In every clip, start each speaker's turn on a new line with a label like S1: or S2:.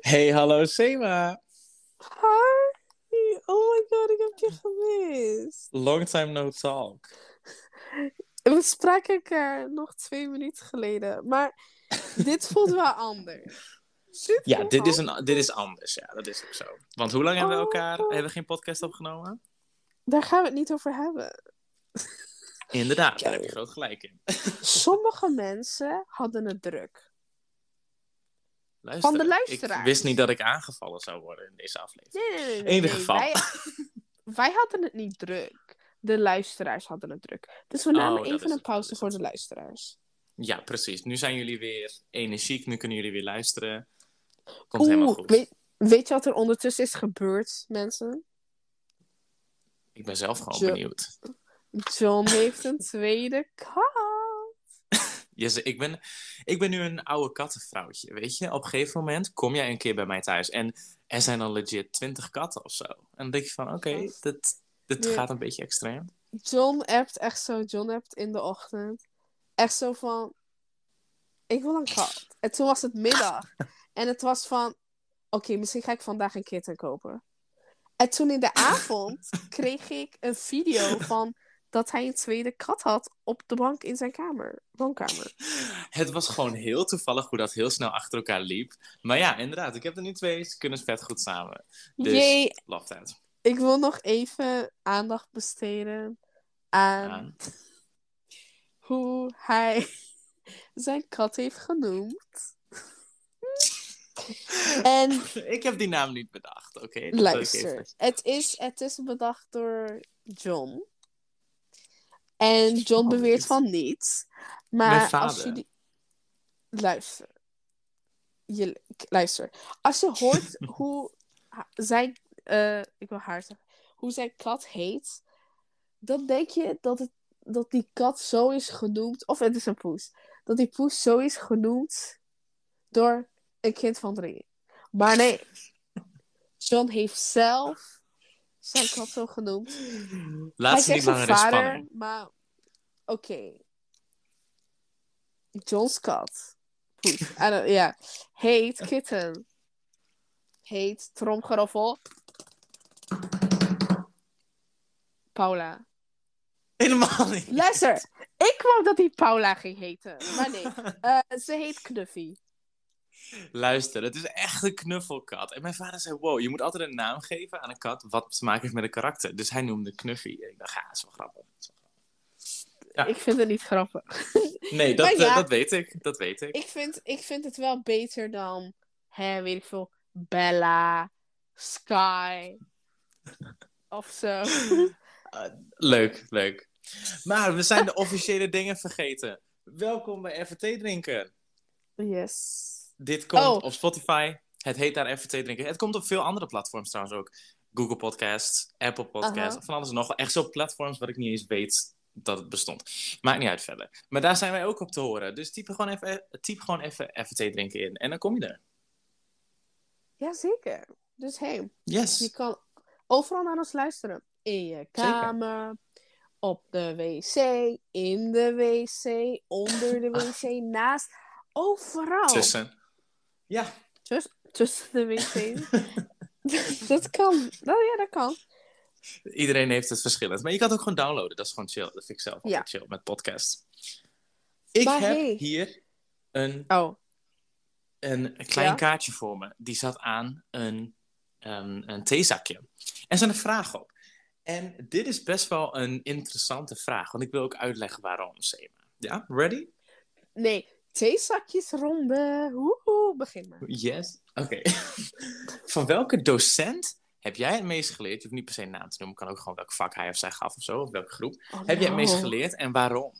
S1: Hey, hallo Sema.
S2: Hi! Oh my god, ik heb je gemist.
S1: Long time no talk.
S2: We spraken elkaar nog twee minuten geleden, maar dit voelt wel anders.
S1: Ja,
S2: voelt
S1: dit is,
S2: wel-
S1: een, dit is anders. Ja, dat is ook zo. Want hoe lang
S2: Oh.
S1: hebben we elkaar... Hebben we geen podcast opgenomen?
S2: Daar gaan we het niet over hebben.
S1: Inderdaad, daar heb je groot gelijk in.
S2: Sommige mensen hadden het druk.
S1: Luister,
S2: Van de luisteraars.
S1: Ik wist niet dat ik aangevallen zou worden in deze aflevering.
S2: Nee, nee, nee. nee,
S1: Enig
S2: nee.
S1: geval.
S2: Wij, wij hadden het niet druk. De luisteraars hadden het druk. Dus we
S1: Oh,
S2: namen
S1: dat is
S2: even een
S1: het, dat
S2: pauze
S1: is
S2: voor de luisteraars.
S1: Ja, precies. Nu zijn jullie weer energiek. Nu kunnen jullie weer luisteren. Komt
S2: Oeh,
S1: helemaal goed.
S2: Weet, weet je wat er ondertussen is gebeurd, mensen?
S1: Ik ben zelf gewoon
S2: Zo.
S1: benieuwd.
S2: John heeft een tweede kat.
S1: Yes, ik, ben, ik ben nu een oude kattenvrouwtje, weet je? Op een gegeven moment kom jij een keer bij mij thuis en er zijn dan legit twintig katten of zo. En dan denk je van, oké,
S2: Gast.
S1: dit, dit
S2: Ja.
S1: gaat een beetje extreem.
S2: John appt echt zo, John appt in de ochtend. Echt zo van, ik wil een kat. En toen was het middag. En het was van, oké, misschien ga ik vandaag een kitten kopen. En toen in de avond kreeg ik een video van dat hij een tweede kat had op de bank in zijn kamer. Woonkamer.
S1: Het was gewoon heel toevallig hoe dat heel snel achter elkaar liep. Maar ja, inderdaad, ik heb er nu twee, ze kunnen vet goed samen. Dus-
S2: Jee,
S1: Love that.
S2: ik wil nog even aandacht besteden aan
S1: Aan.
S2: hoe hij zijn kat heeft genoemd. En
S1: Ik heb die naam niet bedacht, oké? Dat wil ik even-
S2: luister, het is, het is bedacht door John. En John
S1: Oh,
S2: beweert
S1: niet.
S2: van niet. Maar als
S1: vader.
S2: jullie. Luister. Je, luister. Als je hoort hoe ha- zijn. eh, ik wil haar zeggen. Hoe zijn kat heet. Dan denk je dat, het, dat die kat zo is genoemd. Of het is een poes. Dat die poes zo is genoemd. Door een kind van drie. Maar nee. John heeft zelf zijn kat zo genoemd.
S1: Laat ze
S2: Hij zegt
S1: niet langer
S2: zijn
S1: in
S2: vader,
S1: spanning.
S2: maar oké. John's kat. Poes. I don't- Ja. Heet kitten. Heet tromgeroffel. Paula.
S1: Helemaal niet.
S2: Luister, ik wou dat die Paula ging heten. Maar nee, Eh, ze heet Knuffy.
S1: Luister, het is echt een knuffelkat. En mijn vader zei: Wow, je moet altijd een naam geven aan een kat wat te maken heeft met een karakter. Dus hij noemde Knuffy. En ik dacht, ja, dat is wel grappig. Dat is wel Ja.
S2: Ik vind het niet grappig.
S1: grappig. Nee, dat,
S2: Maar ja.
S1: eh, dat weet ik. Dat weet ik.
S2: ik, vind, ik vind het wel beter dan, hè, weet ik veel, Bella, Sky of zo.
S1: Leuk, leuk. Maar we zijn de officiële dingen vergeten. Welkom bij FT Drinken.
S2: Yes.
S1: Dit komt
S2: Oh.
S1: op Spotify. Het heet daar FT Drinken. Het komt op veel andere platforms trouwens ook. Google Podcasts, Apple Podcasts,
S2: Aha.
S1: van alles en nog. wel. Echt zo'n platforms waar ik niet eens weet dat het bestond. Maakt niet uit verder. Maar daar zijn wij ook op te horen. Dus typ gewoon even, typ gewoon even FT Drinken in. En dan kom je er.
S2: Jazeker. Dus hey, je
S1: Yes.
S2: kan overal naar ons luisteren. In je kamer, op de wc, in de wc, onder de wc, naast, overal.
S1: Tussen. Ja.
S2: Tuss- tussen de wc's. dat kan. Nou ja, dat kan.
S1: Iedereen heeft het verschillend. Maar je kan het ook gewoon downloaden. Dat is gewoon chill. Dat vind ik zelf altijd chill met podcasts. Ik
S2: Maar
S1: heb
S2: hey.
S1: hier een,
S2: Oh,
S1: een klein
S2: Ja?
S1: kaartje voor me. Die zat aan een, ehm, een theezakje. Er zijn een vraag op. En dit is best wel een interessante vraag. Want ik wil ook uitleggen waarom, Sema. Ja, ready?
S2: nee. Theezakjes ronden. Woehoe, begin maar.
S1: Yes. Oké. Van welke docent heb jij het meest geleerd? Je hoeft niet per se een naam te noemen. Kan ook gewoon welk vak hij of zij gaf of zo. Of welke groep.
S2: Oh,
S1: Heb jij het meest
S2: no.
S1: geleerd en waarom?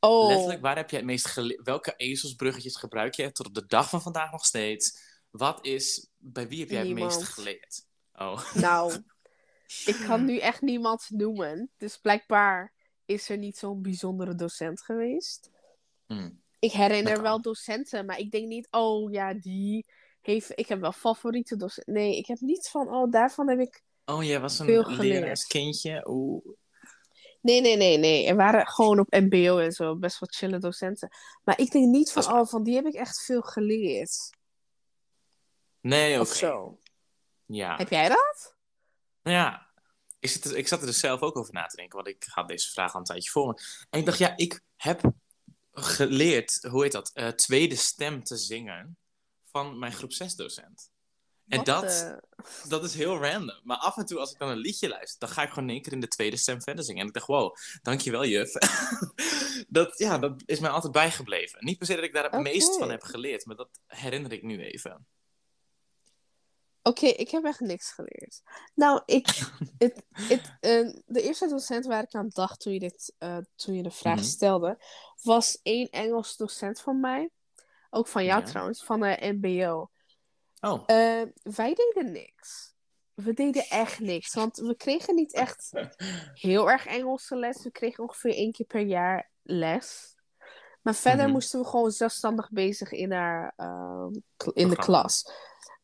S2: Oh,
S1: Letterlijk, waar heb je het meest gele- Welke ezelsbruggetjes gebruik je tot op de dag van vandaag nog steeds? Wat is... Bij wie heb jij het
S2: Niemand.
S1: meest geleerd? Oh.
S2: nou. Ik kan nu echt niemand noemen. Dus blijkbaar is er niet zo'n bijzondere docent geweest.
S1: Hmm.
S2: Ik
S1: Dat
S2: herinner
S1: kan.
S2: wel docenten, maar ik denk niet, oh ja, die heeft. Ik heb wel favoriete docenten. Nee, ik heb niet van, oh, daarvan heb ik.
S1: Oh, jij was
S2: Veel
S1: een
S2: geleerd.
S1: leraarskindje. Oeh.
S2: Nee, nee, nee, nee. Er waren gewoon op MBO en zo best wel chille docenten. Maar ik denk niet van,
S1: Dat is waar.
S2: oh, van die heb ik echt veel geleerd.
S1: Nee, oké. Ah.
S2: Of zo.
S1: Ja.
S2: Heb jij dat?
S1: Nou ja, ik, zit er- ik zat er dus zelf ook over na te denken, want ik had deze vraag al een tijdje voor me. En ik dacht, ja, ik heb geleerd, hoe heet dat, eh, tweede stem te zingen van mijn groep 6 docent. En
S2: Wat eh,
S1: dat,
S2: de-
S1: dat is heel random. Maar af en toe, als ik dan een liedje luister, dan ga ik gewoon in één keer in de tweede stem verder zingen. En ik dacht, wow, dankjewel juf. dat, ja, dat is mij altijd bijgebleven. Niet per se dat ik daar het
S2: Oké.
S1: meest van heb geleerd, maar dat herinner ik nu even.
S2: Oké, ik heb echt niks geleerd. Nou, ik, het, het, eh, de eerste docent waar ik aan dacht toen je, dit, eh, toen je de vraag
S1: Mhm.
S2: stelde, was één Engels docent van mij. Ook van jou
S1: Ja.
S2: trouwens, van de MBO.
S1: Oh,
S2: Eh, wij deden niks. We deden echt niks, want we kregen niet echt heel erg Engelse les. We kregen ongeveer één keer per jaar les. Maar verder
S1: Mhm.
S2: moesten we gewoon zelfstandig bezig in, haar, ehm, kl- in de
S1: Programma.
S2: klas.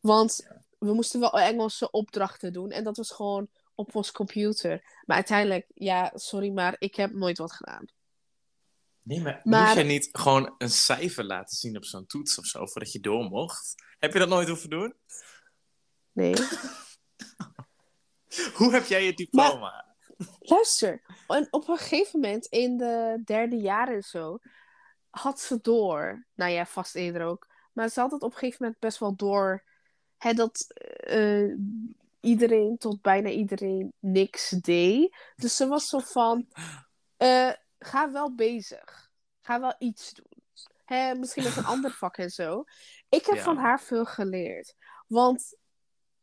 S2: Want we moesten wel Engelse opdrachten doen. En dat was gewoon op ons computer. Maar uiteindelijk, ja, sorry, maar ik heb nooit wat gedaan.
S1: nee, maar,
S2: Maar-
S1: moest jij niet gewoon een cijfer laten zien op zo'n toets of zo, voordat je door mocht? Heb je dat nooit hoeven doen?
S2: Nee.
S1: Hoe heb jij je diploma?
S2: Luister, en op een gegeven moment in de derde jaar en zo had ze door. Nou ja, vast eerder ook. Maar ze had het op een gegeven moment best wel door. Hè, dat eh, iedereen tot bijna iedereen niks deed. Dus ze was zo van: eh, ga wel bezig. Ga wel iets doen. Hè, misschien met een ander vak en zo. Ik heb
S1: Ja.
S2: van haar veel geleerd. Want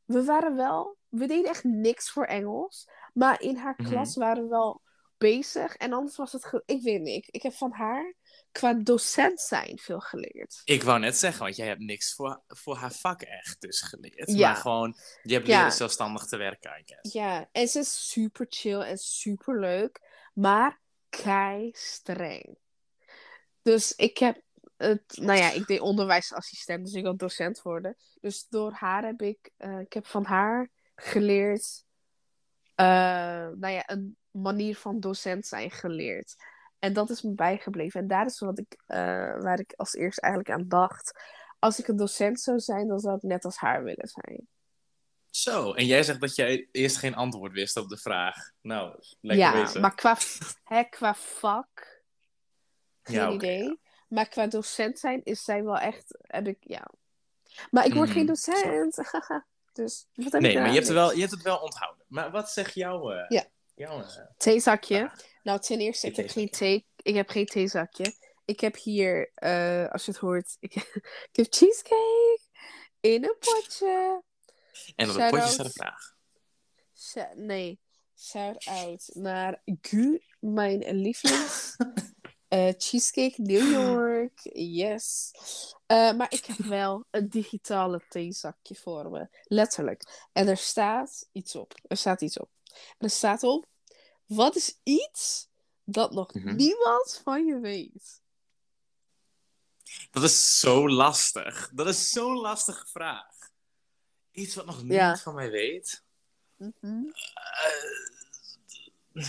S2: we waren wel, we deden echt niks voor Engels. Maar in haar
S1: Mhm.
S2: klas waren we wel bezig. En anders was het. ge- Ik weet niet. Ik, ik heb van haar qua docent zijn veel geleerd.
S1: Ik wou net zeggen, want jij hebt niks voor, voor haar vak echt dus geleerd.
S2: Ja.
S1: Maar gewoon, je hebt
S2: Ja.
S1: leren zelfstandig te werken, I guess.
S2: Ja, en ze is super chill en super leuk. Maar kei streng. Dus ik heb. Het, nou ja, ik deed onderwijsassistent, dus ik wil docent worden. Dus door haar heb ik. eh, ik heb van haar geleerd. eh, nou ja, een manier van docent zijn geleerd. En dat is me bijgebleven. En daar is wat ik, eh, waar ik als eerst eigenlijk aan dacht. Als ik een docent zou zijn, dan zou ik net als haar willen zijn.
S1: Zo, en jij zegt dat jij eerst geen antwoord wist op de vraag. Nou, lekker
S2: ja,
S1: bezig.
S2: maar qua, hè, qua vak, geen
S1: Ja, oké,
S2: idee. Maar qua docent zijn is zij wel echt, heb ik, ja. Maar ik word
S1: Mhm,
S2: geen docent. dus wat heb ik
S1: Nee, maar
S2: eraan?
S1: je hebt, het
S2: Niks.
S1: wel, je hebt het wel onthouden. Maar wat zegt jouw... eh,
S2: Ja.
S1: jouw eh,
S2: Theezakje.
S1: Ah.
S2: Nou, ten eerste, ik
S1: Geen
S2: heb geen thee. Ik heb geen theezakje. Ik heb hier, eh, als je het hoort, ik, ik heb cheesecake in een potje.
S1: en op het
S2: Shout-out.
S1: potje staat de vraag.
S2: Sha- nee, shout-out naar Gu, mijn lievelings. eh, cheesecake New York, yes. Eh, maar ik heb wel een digitale theezakje voor me, letterlijk. En er staat iets op. Er staat iets op. En er staat op: wat is iets dat nog
S1: Mhm.
S2: niemand van je weet?
S1: Dat is zo lastig. Dat is zo'n lastige vraag. Iets wat nog niemand van mij weet.
S2: Mhm.
S1: Eh,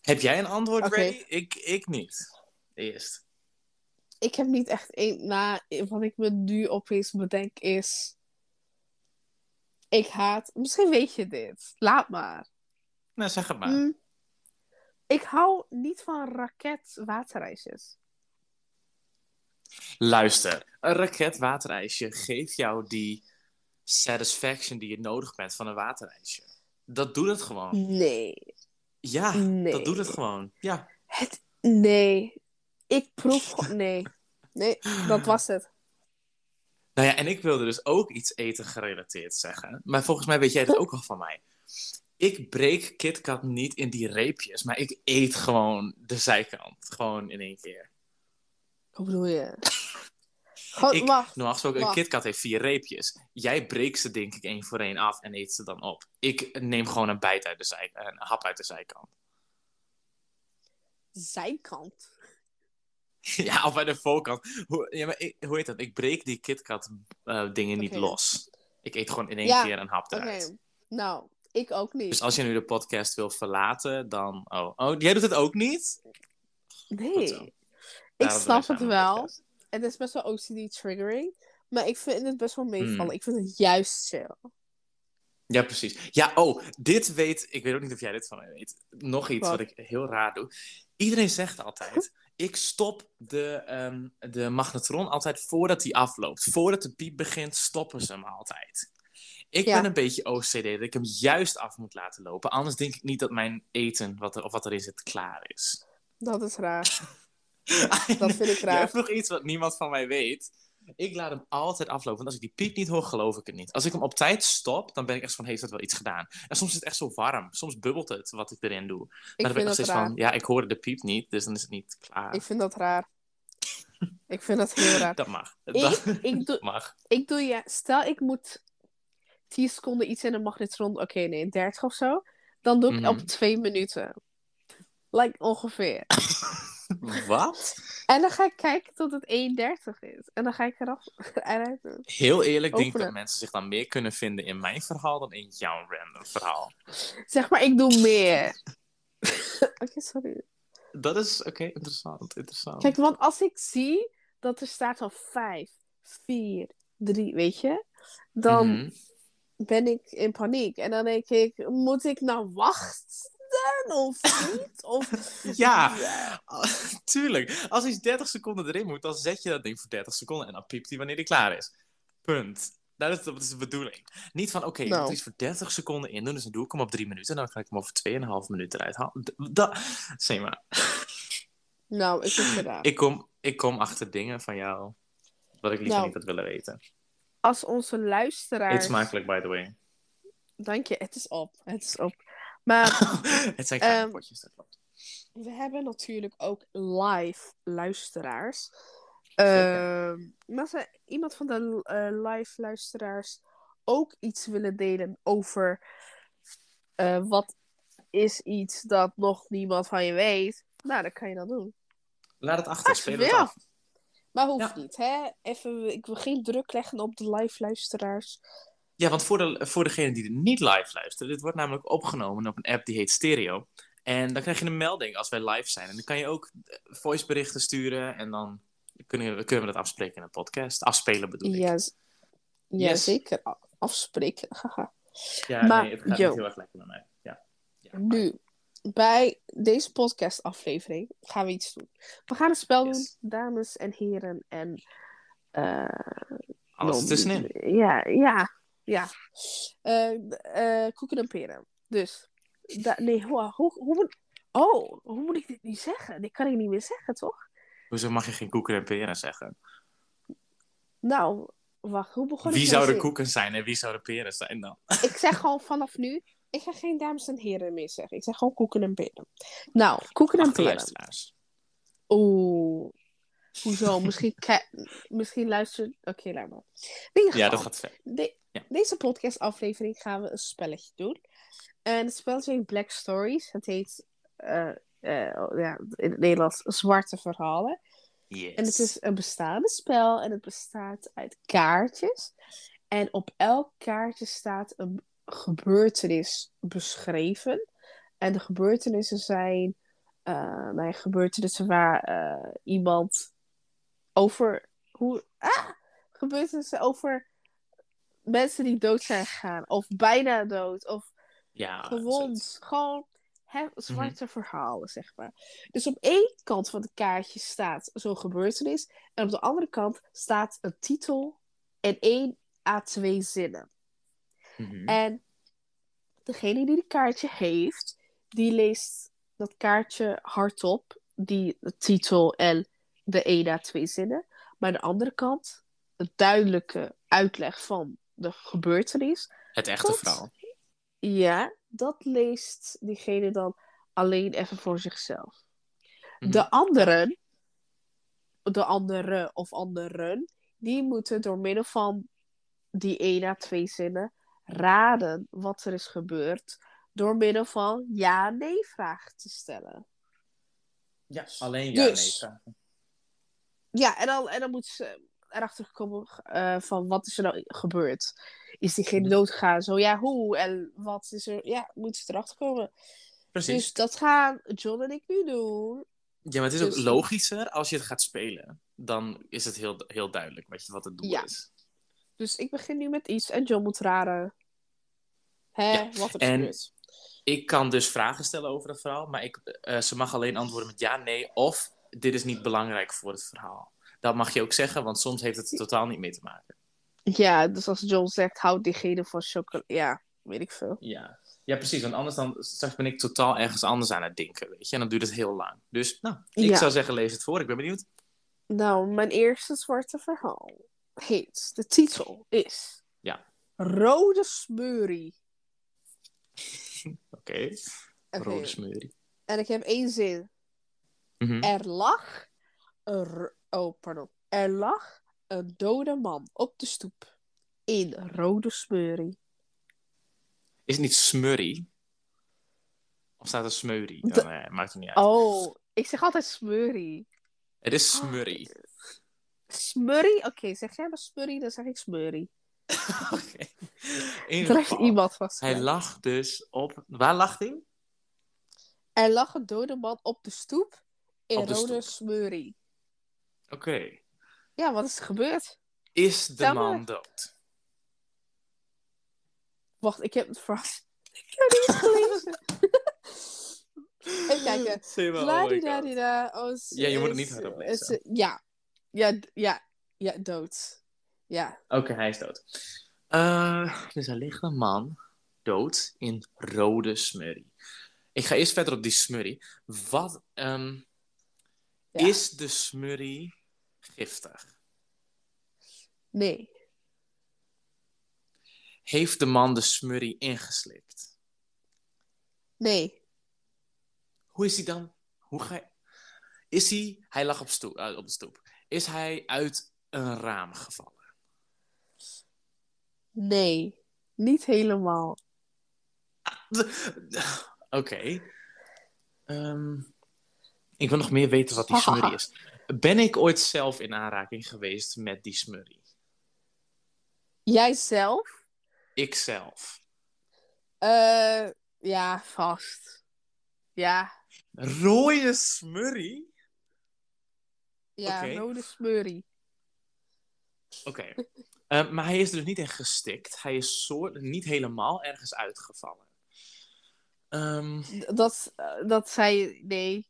S1: Heb jij een antwoord,
S2: Oké.
S1: Brady? Ik, ik niet. Eerst.
S2: Ik heb niet echt één. Na, wat ik me nu opeens bedenk is. Ik haat. Misschien weet je dit. Laat maar.
S1: Nou, zeg het maar.
S2: Mm. Ik hou niet van raketwaterijsjes.
S1: Luister, een raket waterijsje geeft jou die satisfaction die je nodig bent van een waterijsje. Dat doet het gewoon.
S2: Nee.
S1: Ja,
S2: Nee.
S1: Oh. Ah, dat doet het gewoon. Ja.
S2: Het, nee. Ik proef. gewoon- Nee. Nee, dat was het.
S1: Nou ja, en ik wilde dus ook iets eten gerelateerd zeggen. Maar volgens mij weet jij dat ook al van mij. Ik breek KitKat niet in die reepjes, maar ik eet gewoon de zijkant. Gewoon in één keer.
S2: Hoe bedoel je? Gewoon,
S1: Ik-
S2: wacht.
S1: Normaal gesproken, een
S2: Wacht.
S1: KitKat heeft vier reepjes. Jij breekt ze denk ik één voor één af en eet ze dan op. Ik neem gewoon een bijt uit de zij, een hap uit de zijkant.
S2: Zijkant.
S1: Ja, of bij de voorkant. Hoe, ja, maar ik, hoe heet dat? Ik breek die KitKat eh, dingen niet
S2: Oké.
S1: los. Ik eet gewoon in één
S2: Ja,
S1: keer een hap
S2: Oké.
S1: eruit.
S2: Nou, ik ook
S1: Dus
S2: niet.
S1: als je nu de podcast wil verlaten, dan... Oh, oh jij doet het ook niet? Goed zo.
S2: Nee. Ik
S1: Daarom
S2: snap
S1: zijn
S2: het
S1: we aan de
S2: wel.
S1: podcast.
S2: En dat is best wel OCD-triggering. Maar ik vind het best wel meevallen.
S1: Hmm.
S2: Ik vind het juist chill.
S1: Ja, precies. Ja, oh, dit weet... Ik weet ook niet of jij dit van mij weet. Nog iets
S2: Wat?
S1: wat, ik heel raar doe. Iedereen zegt altijd... Ik stop de, ehm, de magnetron altijd voordat die afloopt. Voordat de piep begint, stoppen ze hem altijd. Ik
S2: Ja.
S1: ben een beetje OCD dat ik hem juist af moet laten lopen. Anders denk ik niet dat mijn eten wat er, of wat erin zit klaar is.
S2: Dat is raar.
S1: En
S2: Dat vind ik
S1: Jij
S2: raar.
S1: vroeg iets wat niemand van mij weet. Ik laat hem altijd aflopen. Want als ik die piep niet hoor, geloof ik het niet. Als ik hem op tijd stop, dan ben ik echt van... Heeft dat wel iets gedaan? En soms is het echt zo warm. Soms bubbelt het wat ik erin doe. Maar
S2: Ik
S1: dan ben
S2: vind
S1: ik nog
S2: dat
S1: steeds
S2: raar.
S1: van... Ja, ik hoorde de piep niet, dus dan is het niet klaar.
S2: Ik vind dat raar. Ik vind dat heel raar.
S1: Dat mag.
S2: Ik,
S1: Dat
S2: ik, doe,
S1: mag.
S2: ik doe ja, stel ik moet 10 seconden iets in een magnetron, oké, nee, 30 of zo. Dan doe ik
S1: Mhm.
S2: op 2 minuten. Like ongeveer.
S1: Wat?
S2: En dan ga ik kijken tot het 1,30 is. En dan ga ik eraf eruit doen.
S1: Heel eerlijk denk ik
S2: Openen.
S1: dat mensen zich dan meer kunnen vinden in mijn verhaal... dan in jouw random verhaal.
S2: Zeg maar, ik doe meer. oké, sorry.
S1: Dat is... Oké, interessant. Interessant.
S2: Kijk, want als ik zie dat er staat van 5, 4, 3, weet je, dan
S1: Mhm.
S2: ben ik in paniek. En dan denk ik, moet ik nou wachten of niet? Of...
S1: Ja, tuurlijk. Als iets 30 seconden erin moet, dan zet je dat ding voor 30 seconden en dan piept hij wanneer hij klaar is. Punt. Dat is, dat is de bedoeling. Niet van, oké, ik moet
S2: Nou.
S1: er iets voor 30 seconden in doen, dus dan doe ik hem op 3 minuten en dan kan ik hem over 2,5 minuten eruit halen. D- Dat, zeg maar.
S2: Nou, ik vind het raar.
S1: Ik kom, ik kom achter dingen van jou, wat ik liever
S2: Nou.
S1: niet had willen weten.
S2: Als onze
S1: Eet
S2: luisteraars...
S1: smakelijk, by the way.
S2: Dank je, het is op. Het is op. Maar
S1: Het zijn kleine
S2: Ehm,
S1: potjes, dat klopt.
S2: we hebben natuurlijk ook live luisteraars.
S1: Zeker.
S2: Ehm, maar als er iemand van de eh, live luisteraars ook iets willen delen over eh, wat is iets dat nog niemand van je weet, nou, dan kan je dat doen.
S1: Laat het achter, speel het
S2: Ja.
S1: af.
S2: Maar hoeft
S1: Ja.
S2: niet, hè? Even, ik wil geen druk leggen op de live luisteraars.
S1: Ja, want voor, de, voor degene die dit niet live luisteren, dit wordt namelijk opgenomen op een app die heet Stereo. En dan krijg je een melding als wij live zijn. En dan kan je ook eh, voiceberichten sturen en dan kunnen, we- kunnen we dat afspreken in een podcast. Afspelen bedoel ik.
S2: Ja, z- ja
S1: Yes.
S2: zeker. A- Afspreken. Haha.
S1: Ja,
S2: maar,
S1: nee, het gaat
S2: yo.
S1: niet heel erg lekker met mij. Ja. Ja.
S2: Nu, bij deze podcast-aflevering gaan we iets doen. We gaan een spel
S1: Yes.
S2: doen, dames en heren. En. eh
S1: Alles
S2: non-
S1: tussenin.
S2: Ja, ja, ja. Eh, eh, koeken en peren. Dus. da- nee, hoe, hoe, hoe moet. Oh, hoe moet ik dit nu zeggen? Dit kan ik niet meer zeggen, toch?
S1: Hoezo mag je geen koeken en peren zeggen?
S2: Nou, wacht, hoe begon ik
S1: Wie
S2: nou
S1: zou de
S2: zin?
S1: koeken zijn en wie zou de peren zijn dan?
S2: Ik zeg gewoon vanaf nu, ik ga geen dames en heren meer zeggen. Ik zeg gewoon koeken en peren. Nou, koeken en
S1: Achter
S2: peren.
S1: luisteraars.
S2: Oeh. Hoezo? Misschien, ke- misschien luisteren... Oké, laat maar. In ieder
S1: Ja,
S2: geval,
S1: dat gaat ver.
S2: de-
S1: ja.
S2: Deze podcastaflevering gaan we een spelletje doen. En het spelletje heet Black Stories. Het heet eh, eh, oh, ja, in het Nederlands Zwarte Verhalen.
S1: Yes.
S2: En het is een bestaande spel en het bestaat uit kaartjes. En op elk kaartje staat een gebeurtenis beschreven. En de gebeurtenissen zijn eh, nou ja, gebeurtenissen waar eh, iemand over. Hoe, ah, gebeurtenissen over mensen die dood zijn gegaan, of bijna dood, of
S1: ja,
S2: gewond.
S1: zoiets.
S2: Gewoon hè,
S1: Mhm.
S2: zwarte verhalen, zeg maar. Dus op één kant van het kaartje staat zo'n gebeurtenis. En op de andere kant staat een titel en één à twee zinnen.
S1: Mhm.
S2: En degene die het kaartje heeft, die leest dat kaartje hardop. Die de titel en de één à twee zinnen. Maar de andere kant, een duidelijke uitleg van de gebeurtenis.
S1: Het echte
S2: Tot-
S1: verhaal.
S2: Ja, dat leest diegene dan alleen even voor zichzelf.
S1: Mhm.
S2: De anderen, de andere of anderen, die moeten door middel van die één à twee zinnen raden wat er is gebeurd. Door middel van ja-nee vragen te stellen.
S1: Ja, alleen ja,
S2: Dus-
S1: nee, vragen.
S2: Ja, en dan, en dan moeten ze erachter komen eh, van wat is er nou gebeurd. Is diegene
S1: Mhm.
S2: doodgegaan? Zo ja, hoe? En wat is er? Ja, moeten ze erachter komen.
S1: Precies.
S2: Dus dat gaan John en ik nu doen.
S1: Ja, maar het is ook
S2: Dus-
S1: logischer als je het gaat spelen. dan is het heel, heel duidelijk wat, je, wat het doel
S2: Ja.
S1: is.
S2: Dus ik begin nu met iets en John moet raden. Hè,
S1: Ja,
S2: wat er
S1: en-
S2: gebeurt.
S1: Ik kan dus vragen stellen over het verhaal, maar ik, eh, ze mag alleen antwoorden met ja, nee of dit is niet belangrijk voor het verhaal. Dat mag je ook zeggen, want soms heeft het er totaal niet mee te maken.
S2: Ja, dus als John zegt, houd diegene van chocola. Ja, weet ik veel.
S1: Ja, ja precies, want anders dan, straks ben ik totaal ergens anders aan het denken, weet je. En dan duurt het heel lang. Dus, nou, ik
S2: Ja.
S1: zou zeggen, lees het voor, ik ben benieuwd.
S2: Nou, mijn eerste zwarte verhaal heet. De titel is.
S1: Ja.
S2: Rode smurrie.
S1: Oké,
S2: Oké,
S1: rode smurrie.
S2: En ik heb één zin.
S1: Mhm.
S2: Er lag een... r- Oh, pardon. Er lag een dode man op de stoep. In rode smurrie.
S1: Is het niet smurrie? Of staat er smurrie?
S2: De-
S1: Dan, eh, maakt het niet uit.
S2: Oh, ik zeg altijd smurrie.
S1: Het is smurrie.
S2: Smurrie? Oké, zeg jij maar smurrie, dan zeg ik smurrie.
S1: Oké. In ieder
S2: Er ligt
S1: geval,
S2: iemand vast.
S1: Hij lag dus op... Waar lag hij?
S2: Er lag een dode man op de stoep. In
S1: Op de
S2: rode
S1: stoep.
S2: smurrie.
S1: Oké.
S2: Ja, wat is er gebeurd?
S1: Is de
S2: Stel maar-
S1: man dood?
S2: Wacht, ik heb het verrast. Ik heb het niet gelezen. Even kijken.
S1: Zie wel, oh my god.
S2: Ladidadida. Oh, is-
S1: Ja, je moet het
S2: is-
S1: niet hardop
S2: is-
S1: lezen.
S2: Ja. Ja, d- ja, ja, dood. Ja.
S1: Oké, hij is dood. Eh, dus er ligt een man dood in rode smurrie. Ik ga eerst verder op die smurrie. Wat ehm,
S2: Ja.
S1: is de smurrie giftig?
S2: Nee.
S1: Heeft de man de smurrie ingeslikt?
S2: Nee.
S1: Hoe is hij dan? Hoe ga je... Is hij... Hij lag op, stoep, eh, op de stoep. Is hij uit een raam gevallen?
S2: Nee. Niet helemaal.
S1: Oké. Ehm, ik wil nog meer weten wat die smurrie is. Ben ik ooit zelf in aanraking geweest met die smurrie?
S2: Jijzelf?
S1: Ikzelf.
S2: Eh, ja, vast. Ja.
S1: Rode smurrie?
S2: Ja,
S1: Oké.
S2: rode smurrie.
S1: Oké. Ehm, maar hij is er dus niet in gestikt. Hij is soort, niet helemaal ergens uitgevallen. Ehm,
S2: D- Dat, eh, dat zei... Nee.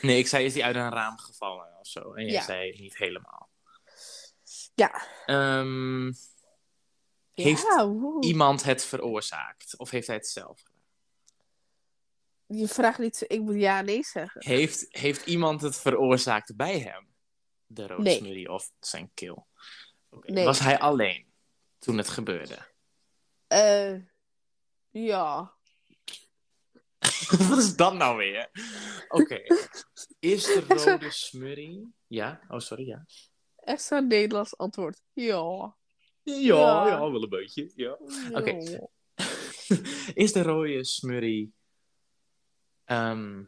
S1: nee, ik zei is hij uit een raam gevallen of zo. En jij
S2: Ja.
S1: zei niet helemaal.
S2: Ja.
S1: Ehm, Heeft
S2: ja, woe.
S1: Iemand het veroorzaakt. Of heeft hij het zelf gedaan?
S2: Je vraagt niet... zo- Ik moet ja nee zeggen.
S1: Heeft, heeft iemand het veroorzaakt bij hem? De
S2: Nee.
S1: rosemary of zijn kill? Oké,
S2: Nee.
S1: Was hij alleen toen het gebeurde?
S2: Eh, ja.
S1: Wat is dat nou weer? Oké. Is de rode smurrie... Ja? Oh, sorry, ja.
S2: Echt zo'n Nederlands antwoord. Ja.
S1: Ja,
S2: Ja.
S1: wel een beetje. Ja.
S2: Oké.
S1: Is de rode smurrie... ehm,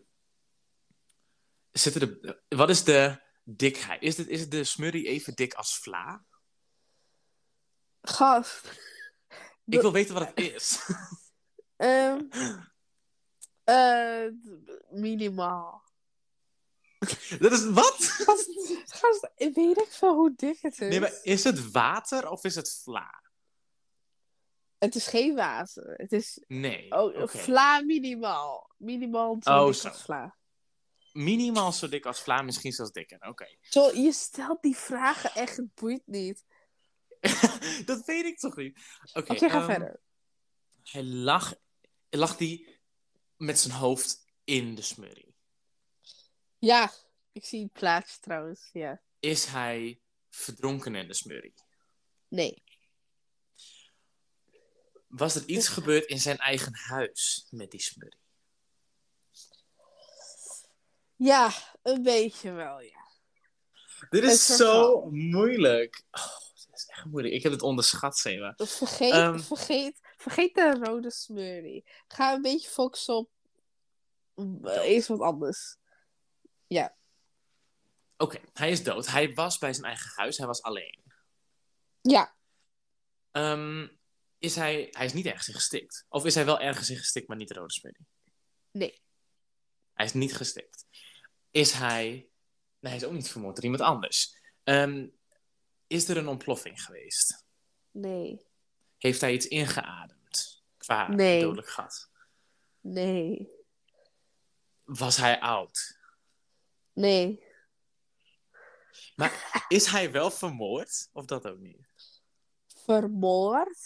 S1: zitten de... Wat is de dikheid? Is, dit, is de smurrie even dik als vla?
S2: Gast.
S1: Ik wil weten wat het is.
S2: Ehm, eh, d- minimaal.
S1: dat is... Wat?
S2: Gast, gast, ik weet ik veel hoe dik het is.
S1: Nee, maar is het water of is het vla?
S2: Het is geen water. Het is
S1: Nee.
S2: oh,
S1: oké.
S2: vla minimaal. Minimaal zo
S1: Oh,
S2: dik
S1: zo.
S2: als vla.
S1: Minimaal zo dik als vla, misschien zelfs dikker. Oké.
S2: Zo, je stelt die vragen echt, het boeit niet.
S1: dat weet ik toch niet? Oké,
S2: Oké, ga
S1: ehm,
S2: verder.
S1: Hij lag, lag die met zijn hoofd in de smurrie.
S2: Ja, ik zie het plaatje trouwens. Ja.
S1: Is hij verdronken in de smurrie?
S2: Nee.
S1: Was er iets gebeurd in zijn eigen huis met die smurrie?
S2: Ja, een beetje wel, ja.
S1: Dit
S2: Het
S1: is zo
S2: verhaal.
S1: moeilijk. Oh, dit is echt moeilijk. Ik heb het onderschat, Sema.
S2: Vergeet,
S1: Ehm.
S2: vergeet, vergeet de rode smurrie. Ga een beetje focussen op eh, eerst wat anders.
S1: Oké, hij is dood. Hij was bij zijn eigen huis. Hij was alleen.
S2: Ja,
S1: Ehm, is hij, hij is niet ergens in gestikt. Of is hij wel ergens in gestikt, maar niet de rode smurrie?
S2: nee.
S1: Hij is niet gestikt. Is hij... Nee, hij is ook niet vermoord door iemand anders. Ehm, is er een ontploffing geweest?
S2: Nee.
S1: Heeft hij iets ingeademd? Qua
S2: Nee.
S1: dodelijk gat.
S2: Nee.
S1: Was hij oud?
S2: Nee.
S1: Is hij wel vermoord? Of dat ook niet?
S2: Vermoord?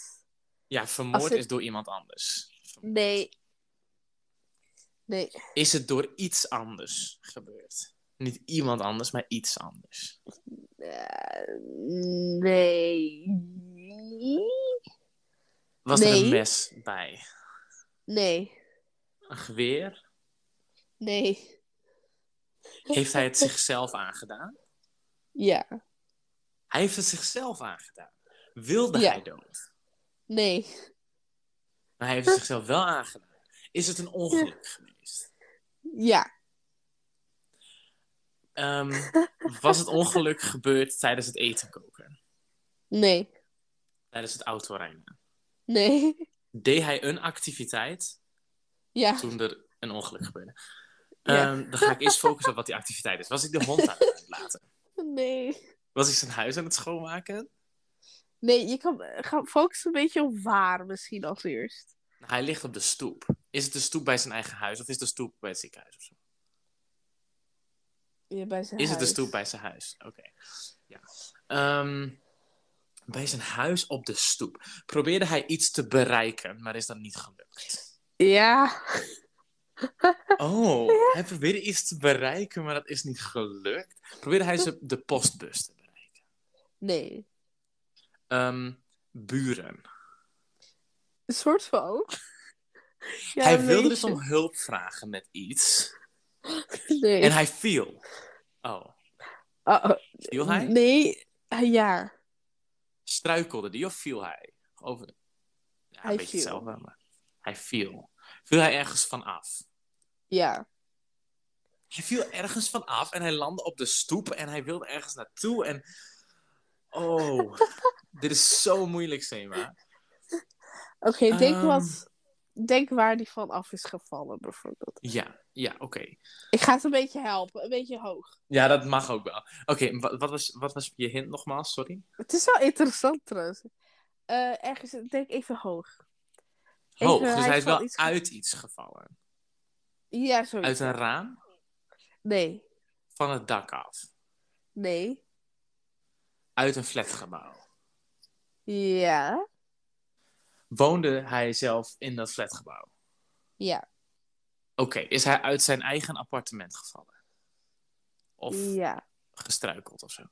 S1: Ja, vermoord
S2: het-
S1: is door iemand anders.
S2: Nee. Nee.
S1: Is het door iets anders gebeurd? Niet iemand anders, maar iets anders.
S2: Eh, nee.
S1: Was er een
S2: Nee.
S1: mes bij?
S2: Nee.
S1: Een geweer?
S2: Nee.
S1: Heeft hij het zichzelf aangedaan?
S2: Ja.
S1: Hij heeft het zichzelf aangedaan. Wilde
S2: Ja.
S1: hij dood?
S2: Nee.
S1: Maar hij heeft het zichzelf wel aangedaan. Is het een ongeluk geweest?
S2: Ja.
S1: Ehm, was het ongeluk gebeurd tijdens het eten koken?
S2: Nee.
S1: Tijdens het autorijden?
S2: Nee.
S1: Deed hij een activiteit
S2: Ja.
S1: toen er een ongeluk gebeurde?
S2: Ja.
S1: Ehm, dan ga ik eerst focussen op wat die activiteit is. Was ik de hond aan het uitlaten?
S2: Nee.
S1: Was ik zijn huis aan het schoonmaken?
S2: Nee, je kan ga focus een beetje op waar misschien als eerst.
S1: Hij ligt op de stoep. Is het de stoep bij zijn eigen huis of is de stoep bij het ziekenhuis? Of zo?
S2: Ja, bij zijn
S1: Is het de
S2: huis.
S1: stoep bij zijn huis? Oké. Ja. Ehm, bij zijn huis op de stoep. Probeerde hij iets te bereiken, maar is dat niet gelukt.
S2: Ja.
S1: Oh, hij probeerde iets te bereiken, maar dat is niet gelukt. Probeerde hij ze- de postbus te bereiken?
S2: Nee.
S1: Ehm, buren.
S2: Een soort van. Ja,
S1: hij
S2: een
S1: wilde dus
S2: beetje.
S1: om hulp vragen met iets.
S2: Nee.
S1: En hij viel. Oh,
S2: Oh, oh.
S1: viel hij?
S2: Nee. Ah, Ja.
S1: Struikelde die of viel hij? Over... Ja,
S2: Hij
S1: een beetje
S2: viel.
S1: hetzelfde, maar... Hij viel. Viel hij ergens van af?
S2: Ja.
S1: Hij viel ergens van af en hij landde op de stoep en hij wilde ergens naartoe en... Oh, dit is zo moeilijk, Sema.
S2: Oké, denk
S1: Ehm.
S2: wat. Denk waar die van af is gevallen, bijvoorbeeld.
S1: Ja, ja, oké.
S2: Ik ga het een beetje helpen, een beetje hoog.
S1: Ja, dat mag ook wel. Oké, wa- wat, was, wat was je hint nogmaals? Sorry.
S2: Het is wel interessant trouwens. Eh, ergens, denk even hoog.
S1: Hoog,
S2: Even,
S1: dus
S2: eh, hij is
S1: hij is
S2: van
S1: wel
S2: iets ge-
S1: uit iets gevallen.
S2: Ja, sorry.
S1: Uit een raam
S2: Nee,
S1: van het dak af.
S2: nee,
S1: Uit een flatgebouw.
S2: ja,
S1: Woonde hij zelf in dat flatgebouw?
S2: ja,
S1: Oké, is hij uit zijn eigen appartement gevallen? Of
S2: ja.
S1: gestruikeld of zo?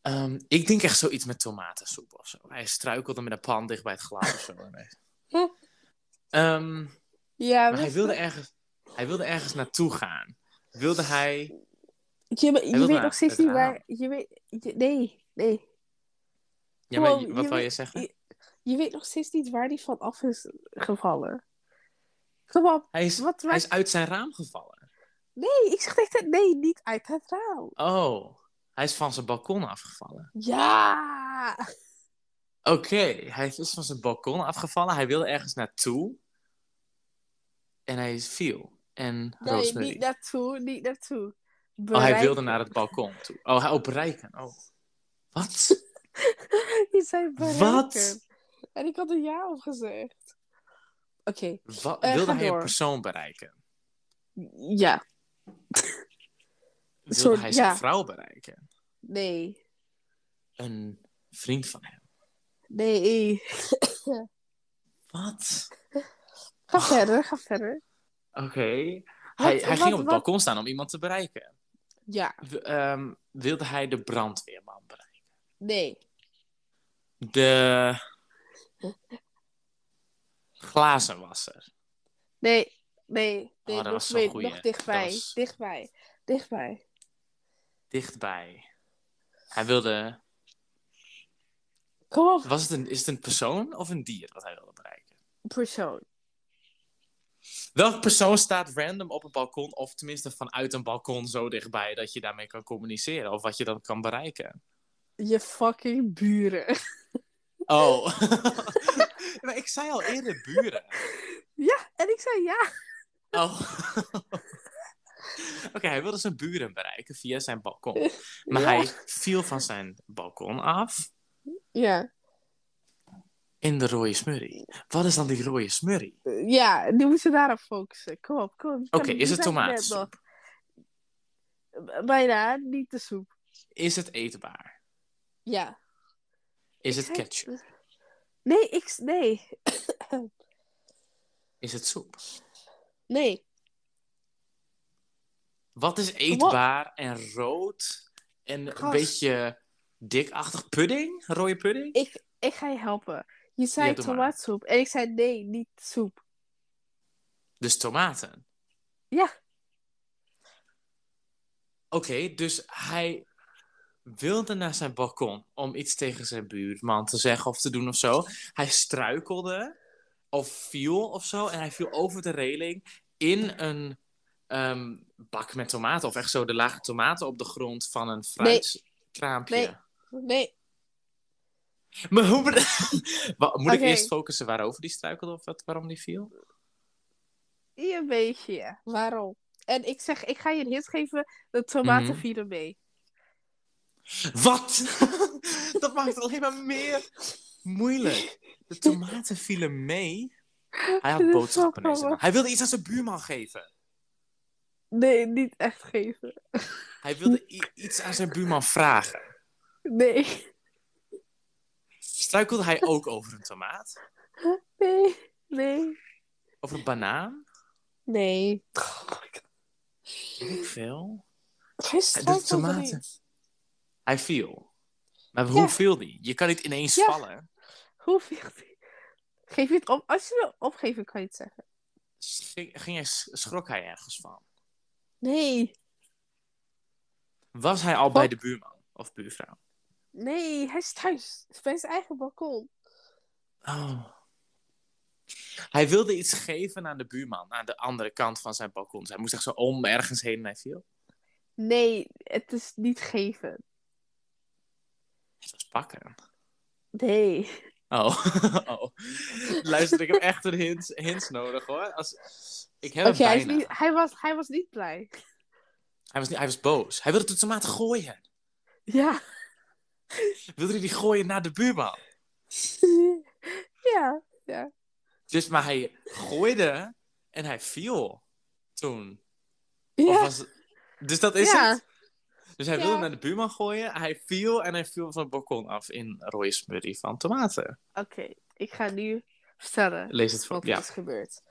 S1: Ehm, ik denk echt zoiets met tomatensoep of zo. Hij struikelde met een pan dicht bij het glas of zo. En hij- Ehm,
S2: Ja,
S1: maar
S2: wist-
S1: hij wilde, ergens, hij wilde ergens naartoe gaan. Wilde hij...
S2: je, je
S1: wilde
S2: weet
S1: naar
S2: nog steeds
S1: het
S2: niet
S1: raam.
S2: waar. Je weet, je- nee, nee.
S1: Ja, maar
S2: Gewoon,
S1: wat
S2: je
S1: wil je
S2: weet-
S1: zeggen?
S2: Je weet nog steeds niet waar die van af is gevallen. Kom op.
S1: Hij is,
S2: Wat,
S1: hij
S2: waar...
S1: is uit zijn raam gevallen.
S2: Nee, ik zeg echt nee, niet uit het raam.
S1: Oh, hij is van zijn balkon afgevallen.
S2: Ja!
S1: Oké, hij is van zijn balkon afgevallen. Hij wilde ergens naartoe. En hij viel. En
S2: Nee,
S1: Rosemary.
S2: niet naartoe, niet naartoe.
S1: Oh, hij
S2: Bereik-
S1: wilde naar het balkon toe. Oh, hij oprijken. Oh. Wat?
S2: Je zei bereiken.
S1: Wat?
S2: En ik had een ja op gezegd. Oké,
S1: Wat?
S2: Eh,
S1: wilde
S2: ga
S1: hij een
S2: door.
S1: persoon bereiken?
S2: ja.
S1: Wilde
S2: soort-
S1: hij zijn
S2: ja.
S1: vrouw bereiken?
S2: Nee,
S1: Een vriend van hem.
S2: nee.
S1: Wat?
S2: Ga verder, ga verder.
S1: Oké. Oh. Hij, hij ging op het
S2: wat-
S1: balkon staan om iemand te bereiken.
S2: Ja,
S1: W- ehm, wilde hij de brandweerman bereiken?
S2: nee.
S1: De glazenwasser.
S2: Nee, nee, nee.
S1: Oh, dat
S2: nog,
S1: was zo'n
S2: meer-
S1: goeie.
S2: nog dichtbij,
S1: Dat was-
S2: dichtbij, dichtbij.
S1: Dichtbij. Hij wilde...
S2: Kom op,
S1: Was het een, is het een persoon of een dier wat hij wilde bereiken?
S2: persoon.
S1: Welk persoon staat random op een balkon, of tenminste vanuit een balkon zo dichtbij dat je daarmee kan communiceren of wat je dan kan bereiken?
S2: Je fucking buren.
S1: Oh, maar ik zei al eerder buren.
S2: Ja, en ik zei ja.
S1: Oh, Oké, hij wilde zijn buren bereiken via zijn balkon. Maar
S2: Ja.
S1: hij viel van zijn balkon af
S2: Ja.
S1: in de rode smurrie. Wat is dan die rode smurrie?
S2: Ja, nu moeten we daarop focussen. Kom op, kom op. Je kan
S1: Oké,
S2: het
S1: is
S2: niet
S1: het
S2: uit je bed
S1: tomatensoep?
S2: nog. Bijna, niet de soep.
S1: Is het eetbaar?
S2: Ja.
S1: Is het
S2: Kijk,
S1: ketchup?
S2: Nee, ik... Nee.
S1: Is het soep?
S2: Nee.
S1: Wat is eetbaar en rood en een
S2: Gast.
S1: beetje dikachtig pudding? Rode pudding?
S2: Ik, ik ga je helpen. Je zei
S1: Ja, doe maar.
S2: tomaatsoep. En ik zei nee, niet soep.
S1: Dus tomaten.
S2: Ja.
S1: Oké, dus hij wilde naar zijn balkon om iets tegen zijn buurman te zeggen of te doen of zo. Hij struikelde of viel of zo en hij viel over de reling in een ehm, bak met tomaten of echt zo de lage tomaten op de grond van een fruitkraampje.
S2: Nee. Nee.
S1: Maar hoe... Wa- Moet ik
S2: Oké.
S1: eerst focussen waarover die struikelde of wat, waarom die viel?
S2: Een beetje, ja. Waarom? En ik zeg, ik ga je een hint geven. De tomaten
S1: Mhm.
S2: vielen mee.
S1: Wat? dat maakt het alleen maar meer moeilijk. De tomaten vielen mee. Hij
S2: Dit
S1: had
S2: is
S1: boodschappen
S2: zo
S1: in zijn
S2: grappig.
S1: hand. Hij wilde iets aan zijn buurman geven.
S2: Nee, niet echt geven.
S1: Hij wilde i- iets aan zijn buurman vragen.
S2: Nee.
S1: Struikelde hij ook over een tomaat?
S2: Nee. Nee.
S1: Over een banaan?
S2: Nee.
S1: Weet ik veel.
S2: Geen
S1: De
S2: struikelde
S1: tomaten.
S2: niet.
S1: Hij viel. Maar
S2: Ja.
S1: hoe viel die? Je kan niet ineens
S2: Ja.
S1: vallen.
S2: Hoe viel die? Geef je het op. Als je wil opgeven, kan je het zeggen.
S1: Ging, ging hij, schrok hij ergens van?
S2: Nee.
S1: Was hij al bij de buurman of buurvrouw?
S2: Nee, hij is thuis. Bij zijn eigen balkon.
S1: Oh. Hij wilde iets geven aan de buurman, aan de andere kant van zijn balkon. Dus hij moest echt zo om ergens heen en hij viel.
S2: Nee, het is niet geven.
S1: Het was pakken.
S2: Nee.
S1: Oh, oh. Luister, ik heb echt een hint, hints nodig hoor. Als... Ik heb
S2: Oké,
S1: hem
S2: hij, is
S1: bijna.
S2: niet- hij, was, hij was niet blij.
S1: Hij, was niet, hij was boos. Hij wilde de tomaat gooien.
S2: Ja.
S1: Wilde hij die gooien naar de buurman?
S2: ja.
S1: Dus, maar hij gooide en hij viel toen. Of
S2: Ja.
S1: was het- Dus dat is
S2: Ja.
S1: het? Dus hij
S2: Ja.
S1: wilde hem naar de buurman gooien. Hij viel en hij viel van het balkon af in rode smurrie van tomaten.
S2: Oké, ik ga nu vertellen
S1: Lees het voor.
S2: wat er
S1: Ja.
S2: is gebeurd.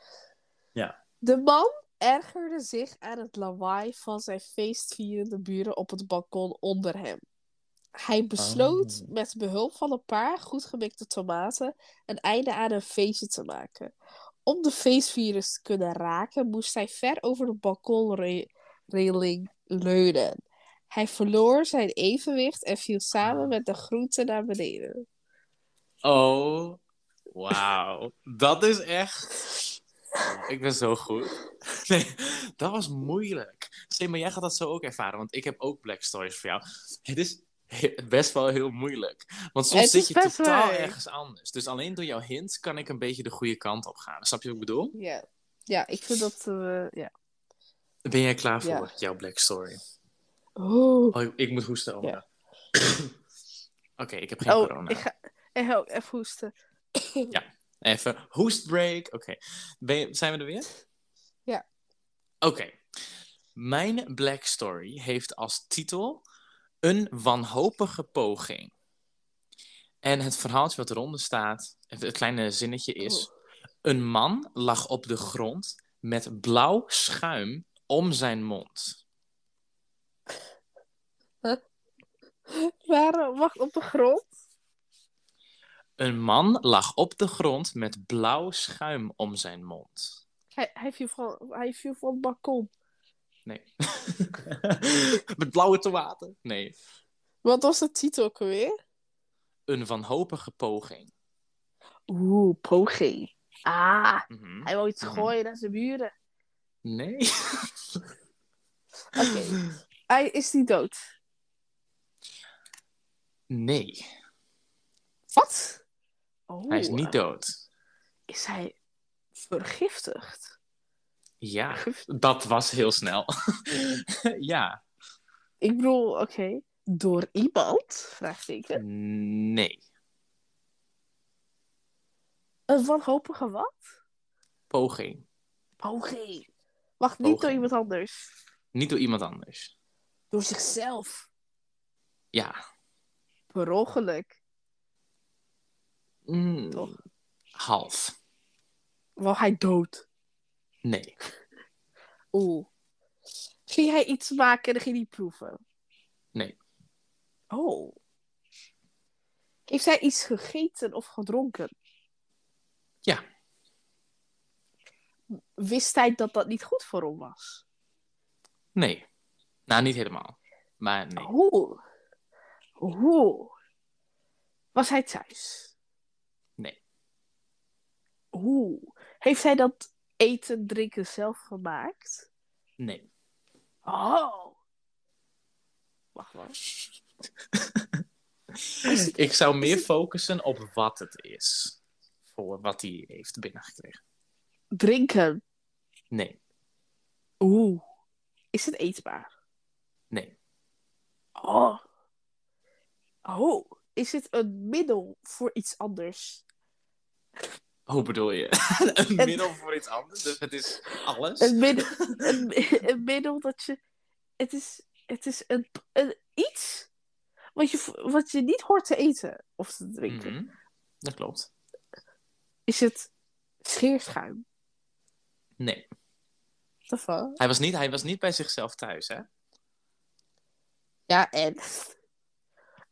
S1: Ja.
S2: De man ergerde zich aan het lawaai van zijn feestvierende buren op het balkon onder hem. Hij besloot
S1: Oh.
S2: met behulp van een paar goedgemikte tomaten een einde aan een feestje te maken. Om de feestvirus te kunnen raken, moest hij ver over de balkonreling leunen. Hij verloor zijn evenwicht en viel
S1: Ah.
S2: samen met de groenten naar beneden.
S1: Oh, wauw. Dat is echt... Ik ben zo goed. Nee, dat was moeilijk. Sim, maar jij gaat dat zo ook ervaren, want ik heb ook Black Stories voor jou. Het is he- best wel heel moeilijk. Want soms
S2: Het
S1: zit
S2: is
S1: je
S2: best
S1: totaal
S2: moeilijk.
S1: ergens anders. Dus alleen door jouw hint kan ik een beetje de goede kant op gaan. Snap je wat ik bedoel?
S2: Ja, ja ik vind dat. eh, ja.
S1: Ben jij klaar voor
S2: Ja.
S1: jouw Black Story?
S2: Oh,
S1: Oh, ik- ik moet hoesten. oh.
S2: Ja.
S1: Oké, ik heb geen corona.
S2: Oh, ik ga eh, hel- even hoesten.
S1: Even hoestbreak. Oké. Ben je- Zijn we er weer?
S2: Ja.
S1: Oké. Mijn Black Story heeft als titel Een wanhopige poging. En het verhaaltje wat eronder staat, het, het kleine zinnetje is... Een man lag op de grond met blauw schuim om zijn mond.
S2: Waarom? eh, Wacht, op de grond?
S1: Een man lag op de grond met blauw schuim om zijn mond.
S2: Hij, hij, viel, van, hij viel van het balkon.
S1: Nee. Met blauwe tomaten? Nee.
S2: Wat was de titel ook alweer?
S1: Een wanhopige poging.
S2: Oeh, poging. Ah,
S1: Mhm.
S2: hij wil iets
S1: Mhm.
S2: gooien naar zijn buren.
S1: Nee.
S2: Oké, hij is niet dood.
S1: Nee,
S2: Wat? Oh,
S1: hij is niet dood.
S2: Is hij vergiftigd?
S1: Ja, dat was heel snel. ja,
S2: Ik bedoel, oké. Door iemand? Vraagteken.
S1: nee.
S2: Een wanhopige wat?
S1: Poging.
S2: Poging. Wacht, niet
S1: Poging.
S2: door iemand anders.
S1: Niet door iemand anders.
S2: Door zichzelf.
S1: Ja.
S2: Per ongeluk.
S1: Mm,
S2: Toch?
S1: Half.
S2: Wou hij dood?
S1: Nee.
S2: Oeh. Ging hij iets maken en dan ging hij proeven?
S1: Nee.
S2: Oh. Heeft hij iets gegeten of gedronken?
S1: Ja.
S2: Wist hij dat dat niet goed voor hem was?
S1: Nee. Nou, niet helemaal. Maar nee.
S2: Oeh. Oeh. Was hij thuis?
S1: Nee.
S2: Oeh. Heeft hij dat eten, drinken zelf gemaakt?
S1: Nee.
S2: Oh. Wacht wel.
S1: Ik zou meer focussen op wat het is. Voor wat hij heeft binnengekregen.
S2: Drinken.
S1: Nee.
S2: Oeh. Is het eetbaar?
S1: Nee.
S2: Oh. Oh. Is het een middel voor iets anders?
S1: Hoe bedoel je? Een middel voor iets anders? Dus het is alles? Mhm.
S2: Een middel, een, mi- een middel dat je. Het is, het is een, een iets wat je, v- wat je niet hoort te eten of te drinken.
S1: Mhm. Dat klopt.
S2: Is het scheerschuim?
S1: Nee.
S2: What the fuck?
S1: Hij was, niet, hij was niet bij zichzelf thuis, hè?
S2: Ja, en.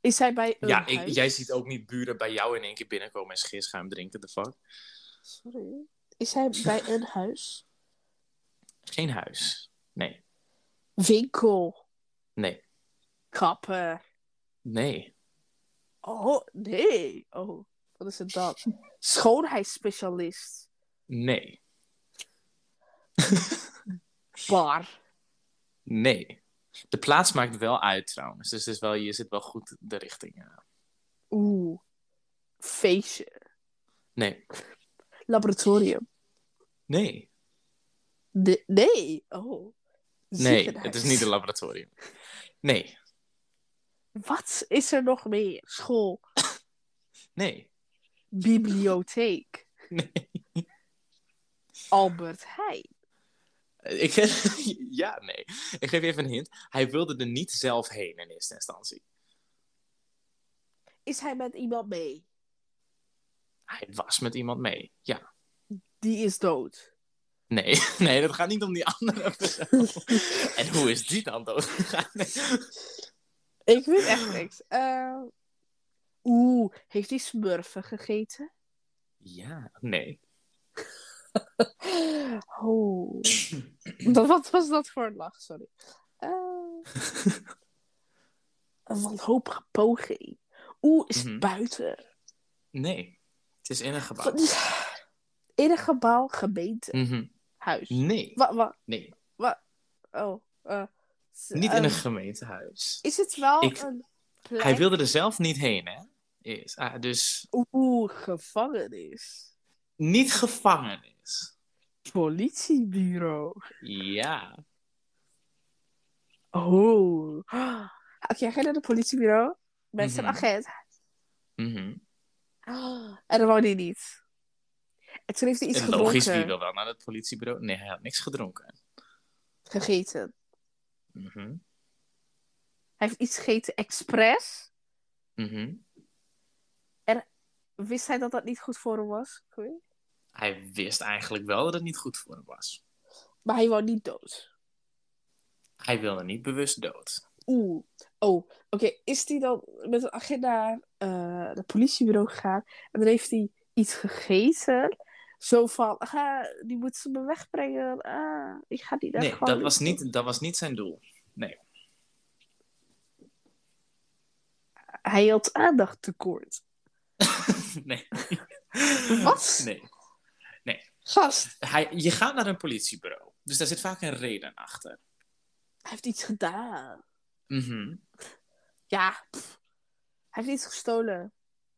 S2: Is hij bij. Een
S1: Ja, ik,
S2: huis?
S1: jij ziet ook niet buren bij jou in één keer binnenkomen en scheerschuim drinken. De fuck?
S2: Sorry. Is hij bij een huis?
S1: Geen huis. Nee.
S2: Winkel.
S1: Nee.
S2: Kapper.
S1: Nee.
S2: Oh, nee. Oh, wat is het dan? Schoonheidsspecialist.
S1: Nee.
S2: Bar.
S1: Nee. De plaats maakt wel uit trouwens. Dus het is wel, je zit wel goed de richting aan.
S2: Oeh. Feestje.
S1: Nee.
S2: Laboratorium.
S1: Nee.
S2: De- nee. Oh.
S1: Nee.
S2: Ziekenhuis.
S1: Het is niet een laboratorium. Nee.
S2: Wat is er nog meer? School.
S1: Nee.
S2: Bibliotheek.
S1: Nee.
S2: Albert Heijn.
S1: Ik geef... Ja, nee. Ik geef je even een hint. Hij wilde er niet zelf heen in eerste instantie.
S2: Is hij met iemand mee?
S1: Hij was met iemand mee. Ja.
S2: Die is dood.
S1: Nee. Nee, dat gaat niet om die andere persoon. En hoe is die dan doodgegaan? Nee.
S2: Ik weet echt niks. Eh, Oeh, heeft hij smurfen gegeten?
S1: Ja, nee.
S2: Oh. Dat, wat was dat voor een lach? Sorry. Eh, een wanhopige poging. Oeh, is het
S1: Mhm.
S2: buiten?
S1: Nee. Het is in een gebouw.
S2: Van- In een gebouw, gemeentehuis.
S1: Mhm. Nee.
S2: Wat, wat,
S1: Nee.
S2: oh. eh, s-
S1: Niet in
S2: ehm,
S1: een gemeentehuis.
S2: Is het wel
S1: Ik-
S2: een plek?
S1: Hij wilde er zelf niet heen, hè? Is. Ah, dus
S2: Oeh, gevangenis.
S1: niet gevangenis.
S2: Politiebureau.
S1: Ja.
S2: Oh. Oké, hij ging naar het politiebureau met zijn
S1: Mhm.
S2: agent.
S1: Mhm.
S2: Ah, En dan woonde hij niet. En toen heeft hij iets
S1: En logisch, wie
S2: gedronken,
S1: wil wel naar het politiebureau? Nee, hij had niks gedronken.
S2: gegeten.
S1: Mhm.
S2: Hij heeft iets gegeten expres.
S1: Mhm.
S2: Wist hij dat dat niet goed voor hem was? Ik weet niet.
S1: Hij wist eigenlijk wel dat het niet goed voor hem was.
S2: Maar hij wou niet dood.
S1: Hij wilde niet bewust dood.
S2: Oeh. Oh, oké. Is hij dan met een agent naar eh, het politiebureau gegaan? En dan heeft hij iets gegeten. Zo van, ah, die moeten ze me wegbrengen. Ah, ik ga die daar
S1: Nee,
S2: gewoon
S1: dat was niet, dat was niet zijn doel.
S2: Hij had aandacht tekort.
S1: Nee.
S2: Wat?
S1: Nee.
S2: Gast,
S1: Hij, je gaat naar een politiebureau. Dus daar zit vaak een reden achter.
S2: hij heeft iets gedaan.
S1: Mhm.
S2: Ja, pff. hij heeft iets gestolen.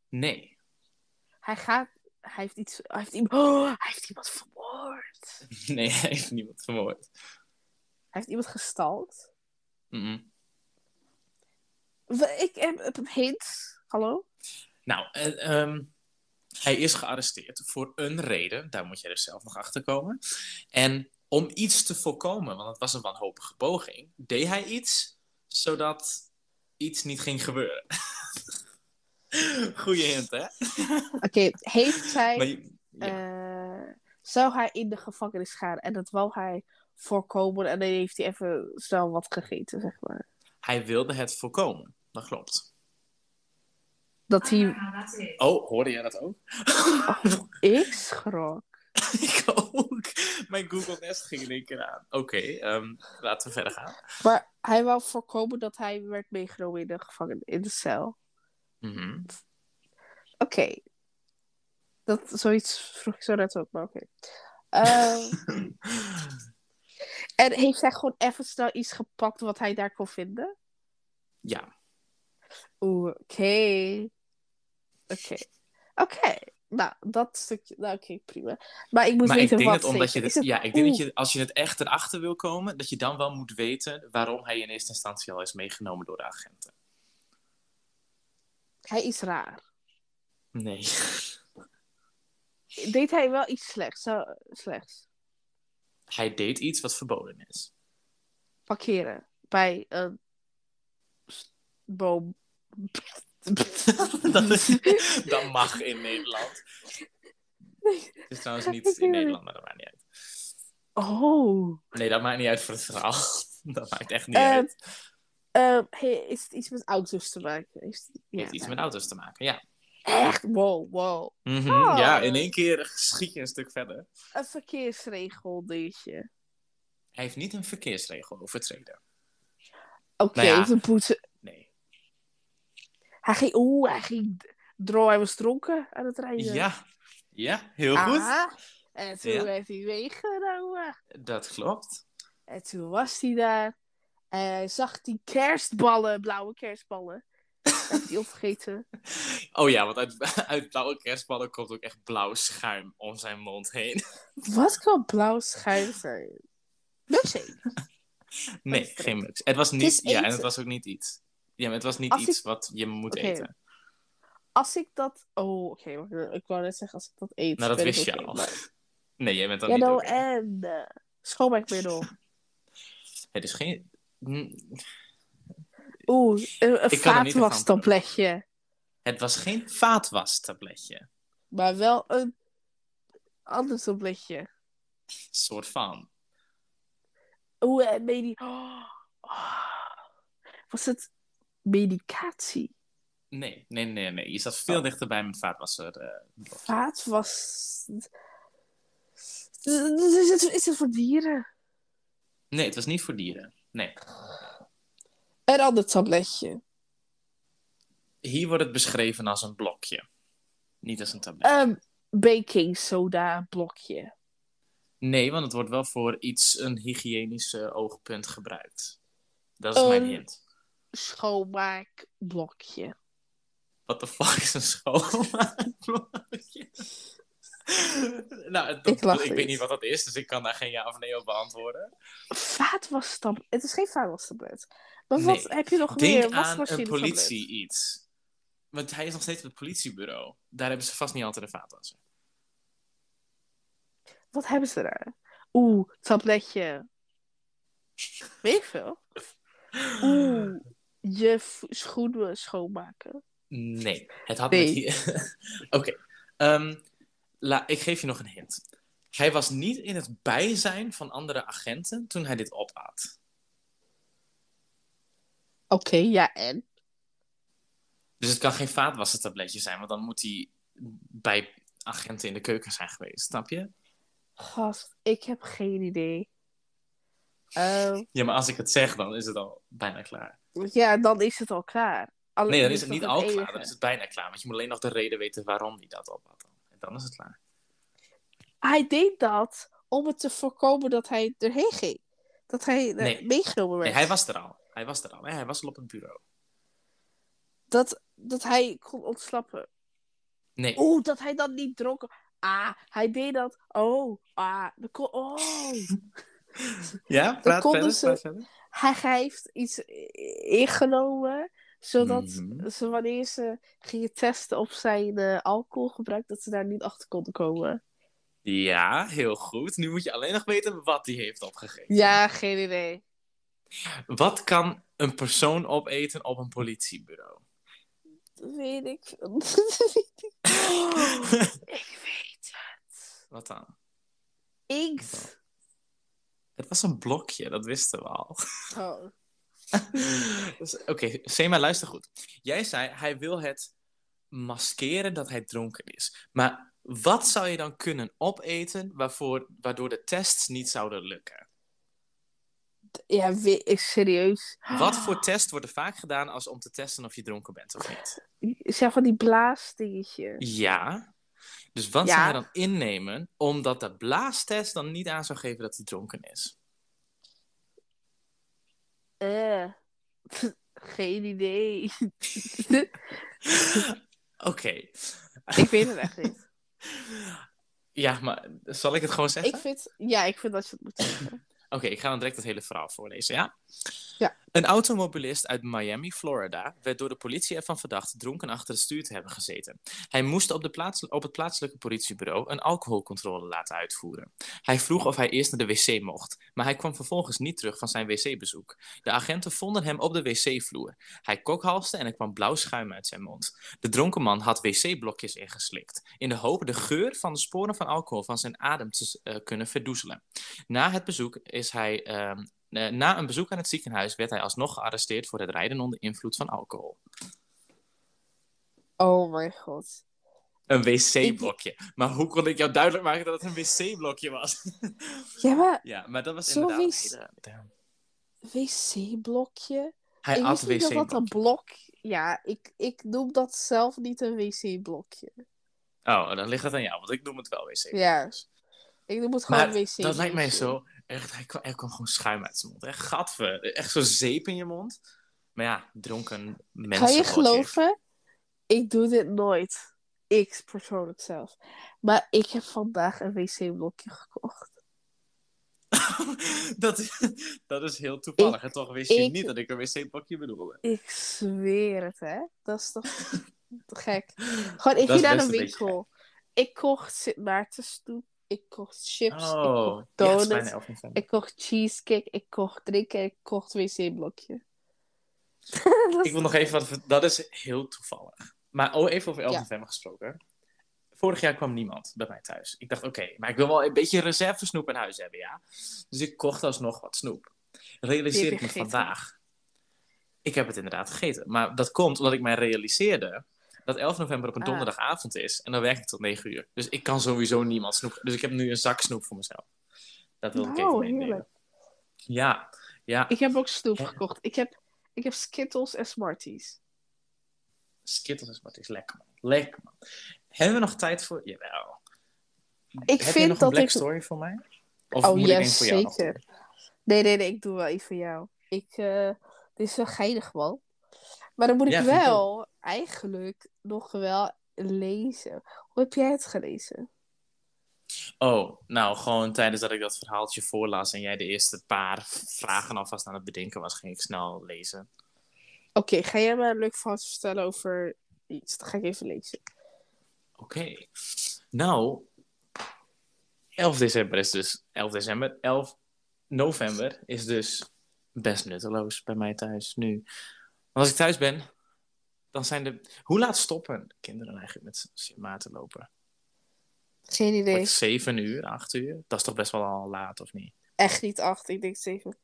S1: Nee.
S2: Hij gaat. Hij heeft iets. Hij heeft iemand. Oh, hij heeft iemand vermoord. vermoord?
S1: Nee, hij heeft niemand vermoord.
S2: Hij heeft iemand gestalkt?
S1: Mm-mm.
S2: We- Ik heb heb een hint. Hallo?
S1: Nou, eh, ehm, hij is gearresteerd voor een reden. Daar moet jij dus zelf nog achter komen. En om iets te voorkomen, want het was een wanhopige poging, deed hij iets zodat iets niet ging gebeuren. Goeie hint, hè?
S2: Oké, heeft hij...
S1: Maar je- ja.
S2: eh, zou hij in de gevangenis gaan? En dat wou hij voorkomen. En dan heeft hij even snel wat gegeten, zeg maar.
S1: Hij wilde het voorkomen. Dat klopt.
S2: Dat hij...
S1: Oh, hoorde jij dat ook? Ah.
S2: Ik schrok.
S1: ik ook. Mijn Google Nest ging in één keer aan. Oké, ehm, laten we verder gaan.
S2: Maar hij wou voorkomen dat hij werd meegenomen in de gevangenis, in de cel.
S1: Mhm.
S2: Oké. Dat, zoiets vroeg ik zo net ook, maar oké. Eh, en heeft hij gewoon even snel iets gepakt wat hij daar kon vinden?
S1: Ja.
S2: Oeh, oké. Oké. Oké. Nou, dat stukje. Nou, oké, prima. Maar ik moet
S1: maar ik
S2: weten
S1: denk
S2: wat
S1: dat omdat je
S2: zeker.
S1: dit,
S2: Is het-
S1: ja, ik denk dat
S2: oeh,
S1: je als je het echt erachter wil komen, dat je dan wel moet weten waarom hij in eerste instantie al is meegenomen door de agenten.
S2: Hij is raar.
S1: Nee.
S2: Deed hij wel iets slechts? Zo, slechts.
S1: Hij deed iets wat verboden is.
S2: Parkeren. Bij een s- boom.
S1: dat, is, dat mag in Nederland. Het is trouwens niet in Nederland, maar dat maakt niet uit.
S2: Oh.
S1: Nee, dat maakt niet uit voor het verhaal. Dat maakt echt niet
S2: Eh,
S1: uit.
S2: eh, hey, is het iets met auto's te maken? Is het-
S1: Het
S2: ja,
S1: heeft iets met auto's te maken, ja.
S2: Echt? Wow, wow.
S1: Mhm,
S2: Oh.
S1: Ja, in één keer schiet je een stuk verder.
S2: Een verkeersregel, dingetje.
S1: Hij heeft niet een verkeersregel overtreden.
S2: Oké,
S1: Nou ja.
S2: even poetsen.
S1: Nee.
S2: Hij ging, oeh, hij ging dro, hij was dronken aan het rijden.
S1: Ja, ja heel
S2: Ah.
S1: goed.
S2: Aha. En toen
S1: Ja.
S2: werd hij meegenomen.
S1: Dat klopt.
S2: En toen was hij daar. En hij zag die kerstballen, blauwe kerstballen. Dat heeft hij opgegeten.
S1: Oh ja, want uit, uit blauwe kerstballen komt ook echt blauw schuim om zijn mond heen.
S2: Wat kan blauw schuim zijn? Milkshake.
S1: Nee,
S2: Perfect.
S1: geen mux. Het was niet,
S2: is
S1: ja, en het
S2: eten.
S1: was ook niet iets. Ja, maar het was niet
S2: Als
S1: iets
S2: ik-
S1: wat je moet
S2: Oké.
S1: eten.
S2: Als ik dat... Oh, oké. wacht, ik wou net zeggen, als ik dat eet...
S1: Nou, dat
S2: ben ik
S1: wist je
S2: oké,
S1: al.
S2: maar-
S1: Nee, jij bent dan
S2: Ja,
S1: niet
S2: nou,
S1: oké.
S2: en... eh, schoonmaakmiddel.
S1: Het is geen... Hm,
S2: Oeh, een, een
S1: Ik kan er niet
S2: vaatwastabletje.
S1: Het was geen vaatwastabletje.
S2: Maar wel een ander tabletje.
S1: Soort van.
S2: Oeh, en medi... Oh, was het medicatie?
S1: Nee, nee, nee, nee. Je zat veel
S2: Oh.
S1: dichterbij met vaatwasser. eh,
S2: Vaatwas... Is het, is het voor dieren?
S1: Nee, het was niet voor dieren. Nee.
S2: Een ander tabletje.
S1: Hier wordt het beschreven als een blokje. Niet als een tablet.
S2: Een Ehm, baking soda blokje.
S1: Nee, want het wordt wel voor iets een hygiënisch eh, oogpunt gebruikt. Dat is
S2: Een-
S1: mijn hint.
S2: Schoonmaak blokje.
S1: What the fuck is een schoonmaakblokje? nou, dat-
S2: Ik lach
S1: ik weet
S2: niet.
S1: niet wat dat is, dus ik kan daar geen ja of nee op beantwoorden.
S2: Vaatwastablet. Het is geen vaatwastablet. Maar
S1: Nee.
S2: wat heb je nog meer?
S1: Denk aan
S2: Wasmachine
S1: een politie iets. Want hij is nog steeds op het politiebureau. Daar hebben ze vast niet altijd een vaatwasser.
S2: Wat hebben ze daar? Oeh, tabletje. Weet ik veel. Oeh, je v- schoenen schoonmaken.
S1: Nee, het had
S2: Nee.
S1: met die- Oké, ehm, la- ik geef je nog een hint. Hij was niet in het bijzijn van andere agenten toen hij dit opaat.
S2: Oké, ja en?
S1: Dus het kan geen vaatwassertabletje zijn, want dan moet hij bij agenten in de keuken zijn geweest, snap je?
S2: Gast, ik heb geen idee. Eh,
S1: Ja, maar als ik het zeg, dan is het al bijna
S2: Oh,
S1: klaar.
S2: ja, dan is het al klaar. Alleen
S1: Nee, dan is
S2: dit
S1: het niet
S2: nog
S1: al
S2: enige.
S1: klaar, dan is het bijna klaar. Want je moet alleen nog de reden weten waarom hij dat opaat. dan. En dan is het klaar.
S2: Hij deed dat om het te voorkomen dat hij erheen ging. Dat hij eh,
S1: Nee.
S2: meegenomen werd.
S1: Nee, hij was er al. Hij was er al. Hij was al op het bureau.
S2: dat, dat hij kon ontsnappen.
S1: Nee,
S2: Oeh, dat hij Oh, dan niet dronken... Ah, hij deed dat. Oh, ah. dan kon- oh.
S1: Ja, praat
S2: konden
S1: verder,
S2: ze-
S1: praat verder.
S2: hij heeft iets i- ingenomen, zodat
S1: Mhm.
S2: ze wanneer ze gingen testen op zijn eh, alcoholgebruik, dat ze daar niet achter konden komen.
S1: Ja, heel goed. Nu moet je alleen nog weten wat hij heeft opgegeten.
S2: Ja, geen idee.
S1: Wat kan een persoon opeten op een politiebureau?
S2: Dat weet ik. Dat weet ik. Oh, ik weet het.
S1: Wat dan?
S2: Inkt.
S1: Het was een blokje, dat wisten we al.
S2: Oh.
S1: Dus, Oké, Sema, luister goed. Jij zei, hij wil het maskeren dat hij dronken is. Maar wat zou je dan kunnen opeten waarvoor, waardoor de tests niet zouden lukken?
S2: Ja, weet ik serieus.
S1: Wat voor test wordt er vaak gedaan als om te testen of je dronken bent of niet?
S2: Zeg van die blaasdingetje.
S1: Ja. Dus wat
S2: Ja.
S1: zou hij dan innemen omdat de blaastest dan niet aan zou geven dat hij dronken is?
S2: Eh. Geen idee.
S1: Oké.
S2: ik weet het echt niet.
S1: Ja, maar zal ik het gewoon zeggen?
S2: Ik vind, ja, ik vind dat je het moet zeggen.
S1: Oké, ik ga dan direct het hele verhaal voorlezen, ja?
S2: Ja.
S1: Een automobilist uit Miami, Florida, werd door de politie ervan verdacht dronken achter het stuur te hebben gezeten. Hij moest op, de plaats, op het plaatselijke politiebureau een alcoholcontrole laten uitvoeren. Hij vroeg of hij eerst naar de wc mocht, maar hij kwam vervolgens niet terug van zijn wc-bezoek. De agenten vonden hem op de wc-vloer. Hij kokhalste en er kwam blauw schuim uit zijn mond. De dronken man had wc-blokjes ingeslikt, in de hoop de geur van de sporen van alcohol van zijn adem te eh, kunnen verdoezelen. Na het bezoek is hij. ehm, eh, na een bezoek aan het ziekenhuis werd hij alsnog gearresteerd voor het rijden onder invloed van alcohol.
S2: Oh mijn god.
S1: Een wc-blokje. Maar hoe kon ik jou duidelijk maken dat het een wc-blokje was?
S2: Ja, maar
S1: ja, maar dat was
S2: Zo
S1: inderdaad...
S2: wist-
S1: een hele-
S2: wc-blokje?
S1: Hij
S2: ik
S1: at
S2: wist niet dat dat een
S1: Eh, wc-blokje.
S2: blok... Ja, ik, ik noem dat zelf niet een wc-blokje.
S1: Oh, dan ligt dat aan jou, want ik noem het wel wc
S2: Ja. Ik noem het gewoon
S1: Maar
S2: een wc-blokje.
S1: dat lijkt mij zo... Echt, hij kwam, er kwam gewoon schuim uit zijn mond. Echt gadver. Echt zo'n zeep in je mond. Maar ja, dronken mensen...
S2: Kan je
S1: wordt
S2: geloven? Ik doe dit nooit. Ik persoonlijk zelf. Maar ik heb vandaag een wc-blokje gekocht.
S1: dat, is, dat is heel toevallig. en toch wist je
S2: ik-
S1: niet dat ik een wc-blokje bedoelde.
S2: Ik zweer het, hè. Dat is toch te gek. Gewoon, ik ging
S1: Dat is
S2: naar
S1: best
S2: de
S1: een beetje
S2: winkel. Ik kocht Sint Maartenstoep. Ik kocht chips.
S1: Oh,
S2: ik kocht donuts.
S1: bijna 11 november.
S2: Ik kocht cheesecake, ik kocht drinken, ik kocht wc-blokje.
S1: Ik wil nog even wat... ver- Dat is heel toevallig. Maar oh, even over 11
S2: Ja.
S1: november gesproken. Vorig jaar kwam niemand bij mij thuis. Ik dacht, oké, maar ik wil wel een beetje reserve snoep in huis hebben, ja? Dus ik kocht alsnog wat snoep.
S2: Die
S1: Realiseer
S2: heb
S1: ik
S2: je
S1: me
S2: gegeten?
S1: vandaag. Ik heb het inderdaad gegeten. Maar dat komt omdat ik mij realiseerde dat 11 november op een
S2: Ah.
S1: donderdagavond is. En dan werk ik tot 9 uur. Dus ik kan sowieso niemand snoep. Dus ik heb nu een zak snoep voor mezelf. Dat wil ik
S2: Nou,
S1: even meenemen.
S2: heerlijk.
S1: Ja, ja.
S2: Ik heb ook snoep gekocht. Ik heb, ik heb Skittles en Smarties.
S1: Skittles is wat is lekker, man. Lekker, man. Hebben we nog tijd voor... Jawel.
S2: Ik
S1: Heb je
S2: vind
S1: nog een
S2: dat
S1: black
S2: ik...
S1: story voor mij? Of
S2: oh,
S1: moet
S2: ja,
S1: ik één voor jou nog
S2: zeker. Nee, nee, nee, ik doe wel één voor jou. Ik, eh, dit is wel geinig, man. Maar dan moet ik
S1: Ja, vind ik
S2: wel eigenlijk nog wel lezen. Hoe heb jij het gelezen?
S1: doen? Oh, nou, gewoon tijdens dat ik dat verhaaltje voorlas en jij de eerste paar vragen alvast aan het bedenken was, ging ik snel lezen.
S2: Oké, ga jij me een leuk verhaal vertellen over iets? Dan ga ik even lezen.
S1: Oké. Nou, 11 december is dus... 11 december, 11 november is dus best nutteloos bij mij thuis nu. Want als ik thuis ben, dan zijn de... Hoe laat stoppen kinderen eigenlijk met Sint Maarten lopen?
S2: Geen idee.
S1: Wordt 7 uur, 8 uur? Dat is toch best wel al laat, of niet?
S2: Echt niet acht. Ik denk zeven.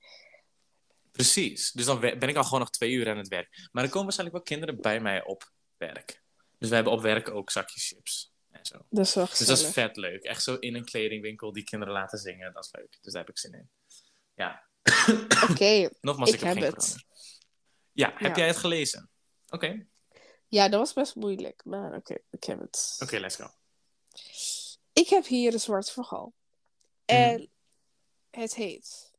S1: Precies. Dus dan we- ben ik al gewoon nog twee uur aan het werk. Maar er komen waarschijnlijk wel kinderen bij mij op werk. Dus we hebben op werk ook zakjes chips en zo.
S2: Dat is wel
S1: Dus
S2: gezellig.
S1: dat is vet leuk. Echt zo in een kledingwinkel die kinderen laten zingen. Dat is leuk. Dus daar heb ik zin in.
S2: Oké,
S1: Nogmaals, ik,
S2: Ik
S1: heb,
S2: heb
S1: geen
S2: het.
S1: corona. Ja, heb
S2: Ja.
S1: jij het gelezen? Oké,
S2: ja, dat was best moeilijk, maar oké, ik heb het.
S1: oké, let's go.
S2: Ik heb hier een zwart verhaal.
S1: Mhm.
S2: En het heet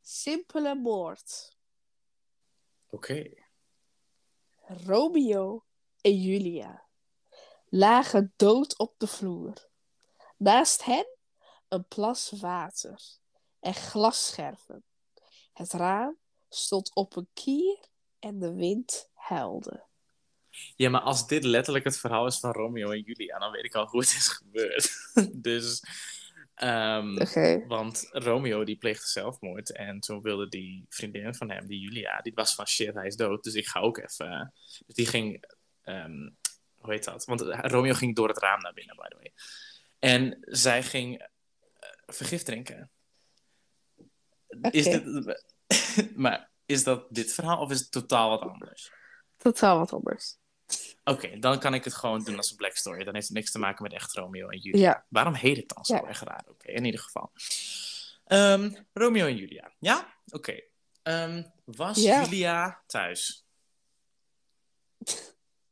S2: Simpele moord.
S1: Oké.
S2: Romeo en Julia lagen dood op de vloer. Naast hen een plas water en glasscherven. Het raam stond op een kier en de wind huilde.
S1: Ja, maar als dit letterlijk het verhaal is van Romeo en Julia, dan weet ik al hoe het is gebeurd. dus, ehm,
S2: Oké.
S1: want Romeo die pleegde zelfmoord en toen wilde die vriendin van hem, die Julia, die was van shit, hij is dood, dus ik ga ook even. Dus die ging, ehm, hoe heet dat? Want eh, Romeo ging door het raam naar binnen, by the way. En zij ging eh, vergif drinken. Is
S2: Oké.
S1: dit, maar is dat dit verhaal of is het totaal wat anders?
S2: Totaal wat anders.
S1: Oké, dan kan ik het gewoon doen als een black story. Dan heeft het niks te maken met echt Romeo en Julia.
S2: Ja.
S1: Waarom heet het dan zo
S2: Ja.
S1: erg raar? Oké, in ieder geval. Ehm, Romeo en Julia. Ja? Oké. Ehm, was
S2: Ja.
S1: Julia thuis?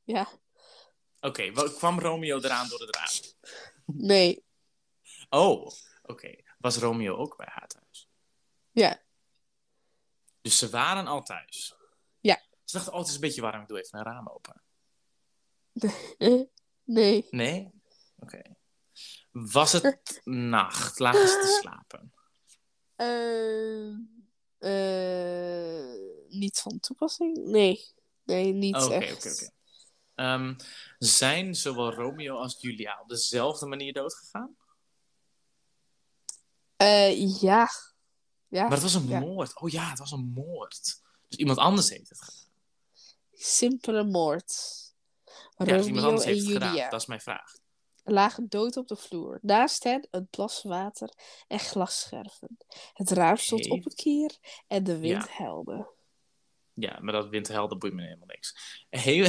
S2: Ja.
S1: Oké, wa- kwam Romeo eraan door het raam?
S2: Nee.
S1: Oh, oké. Was Romeo ook bij haar thuis?
S2: Ja.
S1: Dus ze waren al thuis?
S2: Ja.
S1: Ze dachten, oh, het is een beetje warm. Ik doe even een raam open.
S2: Eh, Nee.
S1: Nee? Oké. Was het nacht? Lagen ze te slapen?
S2: Eh, eh, niet van toepassing? Nee. Nee, niet
S1: Oké,
S2: echt.
S1: oké, oké. Ehm, zijn zowel Romeo als Julia op dezelfde manier doodgegaan?
S2: Eh, ja. Ja,
S1: Maar het was een
S2: ja.
S1: moord. Oh ja, het was een moord. Dus iemand anders heeft het gedaan.
S2: Simpele moord.
S1: Ja, dus iemand
S2: Romeo
S1: anders
S2: en
S1: heeft het
S2: Julia
S1: gedaan. Dat is mijn vraag.
S2: lagen dood op de vloer. Naast hen een plas water en glasscherven. Het raam stond
S1: Oké.
S2: op een kier en de wind
S1: Ja.
S2: huilde.
S1: Ja, maar dat windhelden boeit me helemaal niks. Hey,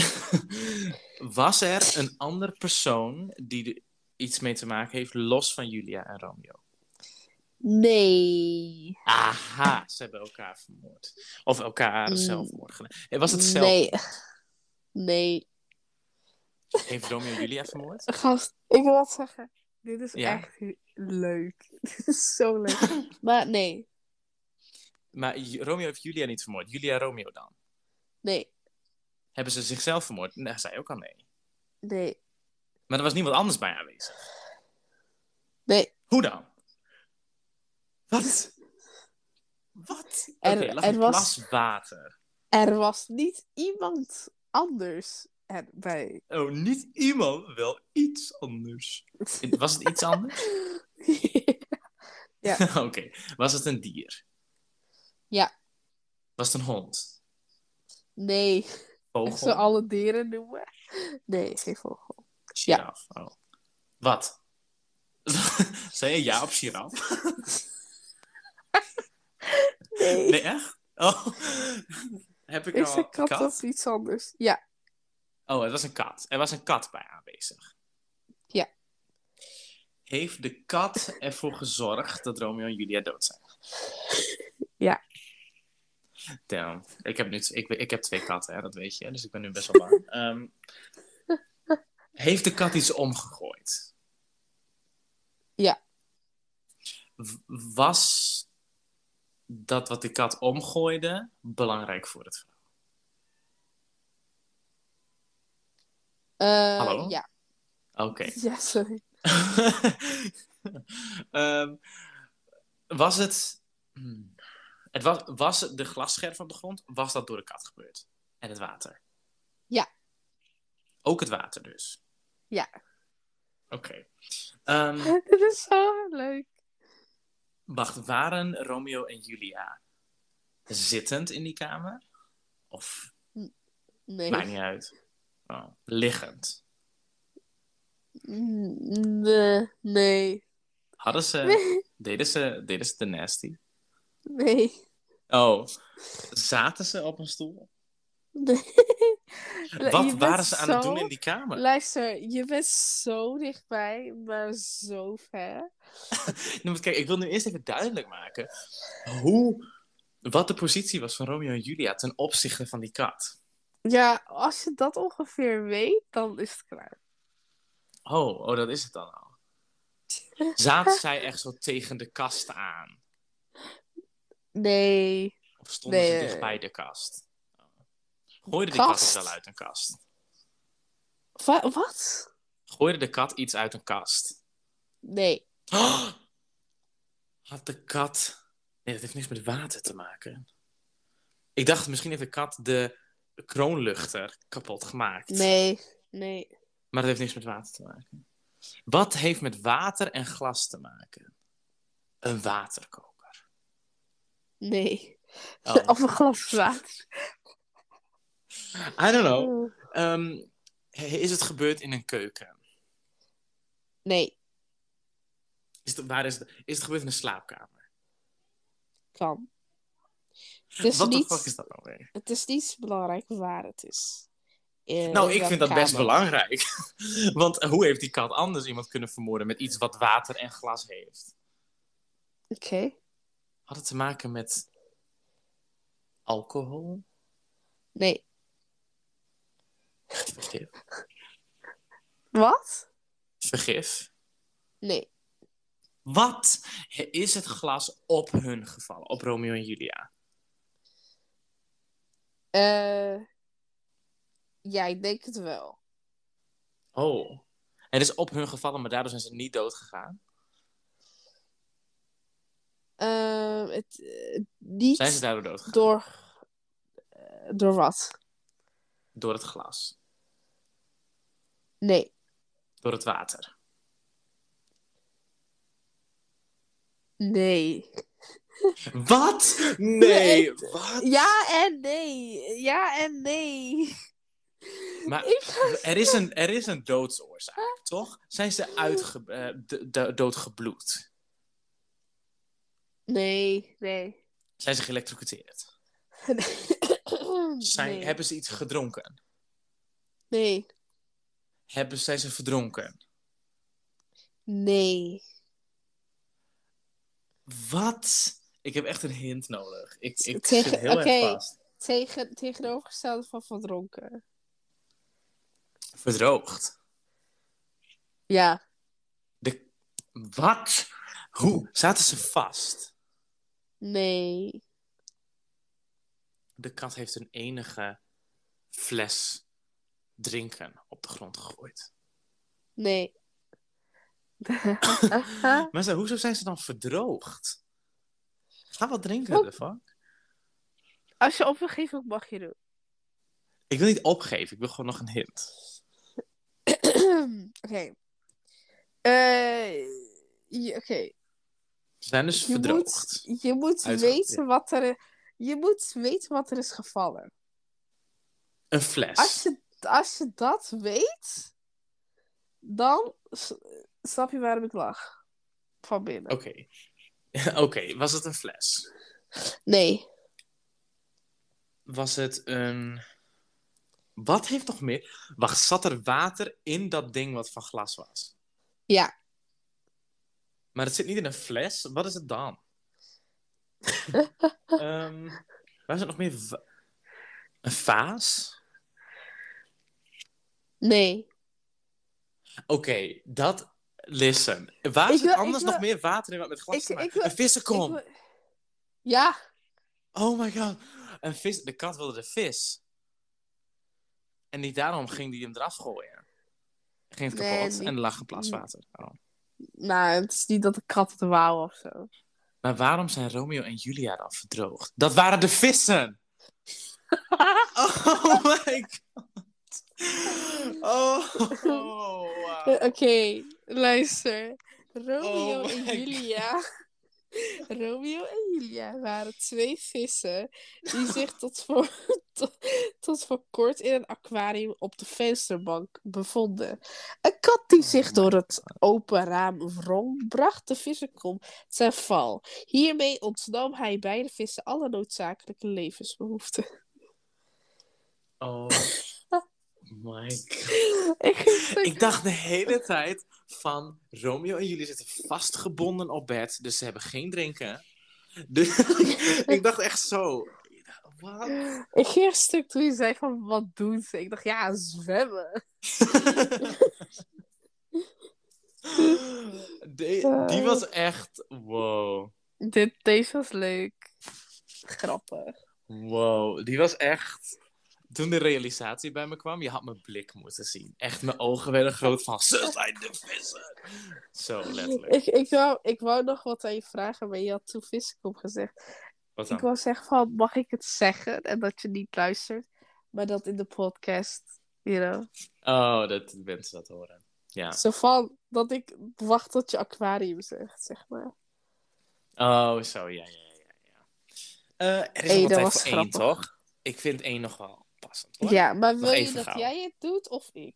S1: was er een andere persoon die er iets mee te maken heeft, los van Julia en Romeo?
S2: Nee.
S1: Aha, ze hebben elkaar vermoord. Of elkaar
S2: Mm.
S1: zelfmoord gedaan. Hey, Was het zelf?
S2: Nee. Nee.
S1: Heeft Romeo Julia vermoord?
S2: Gast, ik wil wat zeggen. Dit is
S1: Ja?
S2: echt leuk. Dit is zo leuk. maar nee.
S1: Maar Ju- Romeo heeft Julia niet vermoord. Julia Romeo dan?
S2: Nee.
S1: Hebben ze zichzelf vermoord? Nee, zei ook al nee.
S2: Nee.
S1: Maar er was niemand anders bij aanwezig.
S2: Nee.
S1: Hoe dan? Wat? Wat?
S2: Er-
S1: Oké, lag
S2: er
S1: een
S2: was-
S1: glas water.
S2: Er was niet iemand anders erbij.
S1: Oh, niet iemand, wel iets anders. Was het iets anders? Oké. Was het een dier?
S2: Ja.
S1: Was het een hond?
S2: nee. Ik
S1: Vogel?
S2: zou alle dieren noemen. Nee, geen vogel.
S1: Giraf? Oh. Wat? zei je ja op giraf?
S2: Nee.
S1: Nee, echt? Oh. Heb ik
S2: Ik
S1: al
S2: zei kat, of iets anders. Ja,
S1: Oh, het was een kat. Er was een kat bij aanwezig.
S2: Ja.
S1: Heeft de kat ervoor gezorgd dat Romeo en Julia dood zijn?
S2: Ja.
S1: Damn. Ik heb, nu, ik, ik heb twee katten, hè, dat weet je. Dus ik ben nu best wel bang. Ehm, heeft de kat iets omgegooid?
S2: Ja.
S1: W- Was dat wat de kat omgooide belangrijk voor het verhaal?
S2: Eh,
S1: Hallo?
S2: Ja.
S1: Oké.
S2: ja, sorry.
S1: Ehm, was het. hmm. Het was, was het de glasscherf op de grond? Was dat door de kat gebeurd? En het water?
S2: Ja.
S1: Ook het water dus?
S2: Ja.
S1: Oké. Ehm,
S2: Dit is zo leuk.
S1: wacht, waren Romeo en Julia zittend in die kamer? Of,
S2: Nee.
S1: maakt niet uit. Oh, liggend.
S2: Mm, Nee. Nee.
S1: Hadden ze,
S2: Nee.
S1: deden ze, deden ze de nasty?
S2: Nee.
S1: Oh, zaten ze op een stoel?
S2: Nou, Je
S1: Wat
S2: bent
S1: waren ze aan het
S2: zo-
S1: doen in die kamer?
S2: Luister, je bent zo dichtbij, maar zo ver.
S1: Nee, want kijk, ik wil nu eerst even duidelijk maken hoe, wat de positie was van Romeo en Julia ten opzichte van die kat.
S2: Ja, als je dat ongeveer weet, dan is het klaar.
S1: Oh, oh dat is het dan al. Zaten zij echt zo tegen de kast aan?
S2: Nee.
S1: Of stonden ze
S2: Nee. eh,
S1: dichtbij de kast? Gooide de kat
S2: Kast?
S1: het wel uit een kast?
S2: Wa- wat?
S1: Gooide de kat iets uit een kast?
S2: Nee.
S1: Had de kat. Nee, dat heeft niks met water te maken. Ik dacht, misschien heeft de kat de kroonluchter kapot gemaakt.
S2: Nee. Nee.
S1: Maar dat heeft niks met water te maken. Wat heeft met water en glas te maken? Een waterkoker.
S2: Nee.
S1: Oh.
S2: Of een glas water.
S1: I don't know.
S2: Oh.
S1: Ehm, is het gebeurd in een keuken?
S2: Nee.
S1: Is het, waar is, het, is het gebeurd in een slaapkamer?
S2: Kan. Dus
S1: Wat
S2: niet-
S1: de fuck is dat nou weer?
S2: Het is niet belangrijk waar het is. In
S1: Nou, ik
S2: welke
S1: vind dat best
S2: kamer.
S1: belangrijk. Want eh, hoe heeft die kat anders iemand kunnen vermoorden met iets wat water en glas heeft?
S2: Oké.
S1: Had het te maken met alcohol?
S2: Nee.
S1: Vergif?
S2: Wat?
S1: Vergif?
S2: Nee.
S1: Wat is het glas op hun gevallen? Op Romeo en Julia?
S2: Eh ja, ik denk het wel.
S1: Oh. Het is op hun gevallen, maar daardoor zijn ze niet dood gegaan.
S2: Ehm, het, eh, niet
S1: Zijn ze daardoor dood gegaan?
S2: door... eh, door wat?
S1: Door het glas.
S2: Nee.
S1: Door het water.
S2: Nee.
S1: Wat?
S2: Nee.
S1: Nee. Wat?
S2: Ja en nee. Ja en nee.
S1: Maar
S2: Ik
S1: Er is een, er is een doodsoorzaak, toch? Zijn ze uitge eh, d- d- doodgebloed?
S2: Nee, nee.
S1: Zijn ze geëlectrocuteerd? Zijn,
S2: nee.
S1: Hebben ze iets gedronken?
S2: nee.
S1: Hebben, zijn ze verdronken?
S2: Nee.
S1: Wat? Ik heb echt een hint nodig. Ik, ik
S2: Tegen-
S1: zit heel
S2: oké.
S1: erg vast.
S2: Tegen, tegenovergestelde van verdronken.
S1: Verdroogd.
S2: Ja.
S1: De... Wat? Hoe? Zaten ze vast?
S2: Nee.
S1: De kat heeft een enige fles drinken op de grond gegooid.
S2: Nee.
S1: Maar zo, hoezo zijn ze dan verdroogd? Ga wat drinken
S2: Wat?
S1: ervan.
S2: Als je opgeeft, wat mag je doen?
S1: Ik wil niet opgeven, ik wil gewoon nog een hint.
S2: Oké. Eh, je- Oké.
S1: Ze zijn dus
S2: Je
S1: verdroogd.
S2: moet, je moet
S1: Uitge-
S2: weten wat er... Je moet weten wat er is gevallen.
S1: Een fles.
S2: Als je, als je dat weet... Dan s- snap je waarom ik lach. Van binnen.
S1: Oké. Oké, was het een fles?
S2: Nee.
S1: Was het een. Wat heeft nog meer? Wacht, zat er water in dat ding wat van glas was?
S2: Ja.
S1: Maar het zit niet in een fles? Wat is het dan? Ehm, waar is het nog meer? Va- een vaas?
S2: Nee.
S1: Oké, dat. Listen. Waar
S2: Ik
S1: zit
S2: wil-
S1: anders
S2: ik wil-
S1: nog meer water in wat met glas
S2: ik-
S1: te maken-
S2: ik wil-
S1: Een vissenkom!
S2: Ik wil- Ja.
S1: Oh my god. Een vis, de kat wilde de vis. En niet daarom ging die hem eraf gooien. Ging het
S2: Nee,
S1: kapot
S2: die-
S1: en er lag geplaswater. Oh.
S2: Nou, het is niet dat de kat het wou of zo.
S1: Maar waarom zijn Romeo en Julia dan verdroogd? Dat waren de vissen! Oh my god. Eh, Oh, wow.
S2: Eh, Oké, luister. Romeo
S1: Oh
S2: en
S1: my
S2: Julia. Romeo en Julia waren twee vissen die zich tot voor, tot, tot voor kort in een aquarium op de vensterbank bevonden. Een kat die
S1: Oh
S2: zich
S1: my
S2: door het open raam wrong, bracht de vissenkom ten val. Hiermee ontnam hij beide vissen alle noodzakelijke levensbehoeften.
S1: Oh my god.
S2: Ik vind het-
S1: Ik dacht de hele tijd van... Romeo en Julia zitten vastgebonden op bed, dus ze hebben geen drinken. Dus ik dacht echt zo... Ik dacht, Wat?
S2: Ik ging een stuk toen je zei van wat doen ze? Ik dacht ja, zwemmen.
S1: De- die was echt. Wow.
S2: Dit, deze was leuk. Grappig.
S1: Wow. Die was echt. toen de realisatie bij me kwam, je had mijn blik moeten zien. Echt, mijn ogen werden groot van, ze zijn de vissen! Zo, letterlijk.
S2: Ik, ik, wou, ik wou nog wat aan je vragen, maar je had toen viskop gezegd.
S1: Wat
S2: Ik
S1: dan?
S2: wou zeggen van, mag ik het zeggen? En dat je niet luistert, maar dat in de podcast, you know.
S1: Oh, dat mensen dat horen. Ja.
S2: Zo van, dat ik wacht tot je aquarium zegt, zeg maar.
S1: Oh, zo, ja, ja, ja. ja. Eh, er is
S2: Hey,
S1: nog
S2: dat
S1: wat tijd
S2: was
S1: voor één,
S2: grappig.
S1: toch? Ik vind één nog wel passend, hoor.
S2: Ja, maar
S1: Nog
S2: wil je
S1: even
S2: dat
S1: gauw.
S2: jij het doet of ik?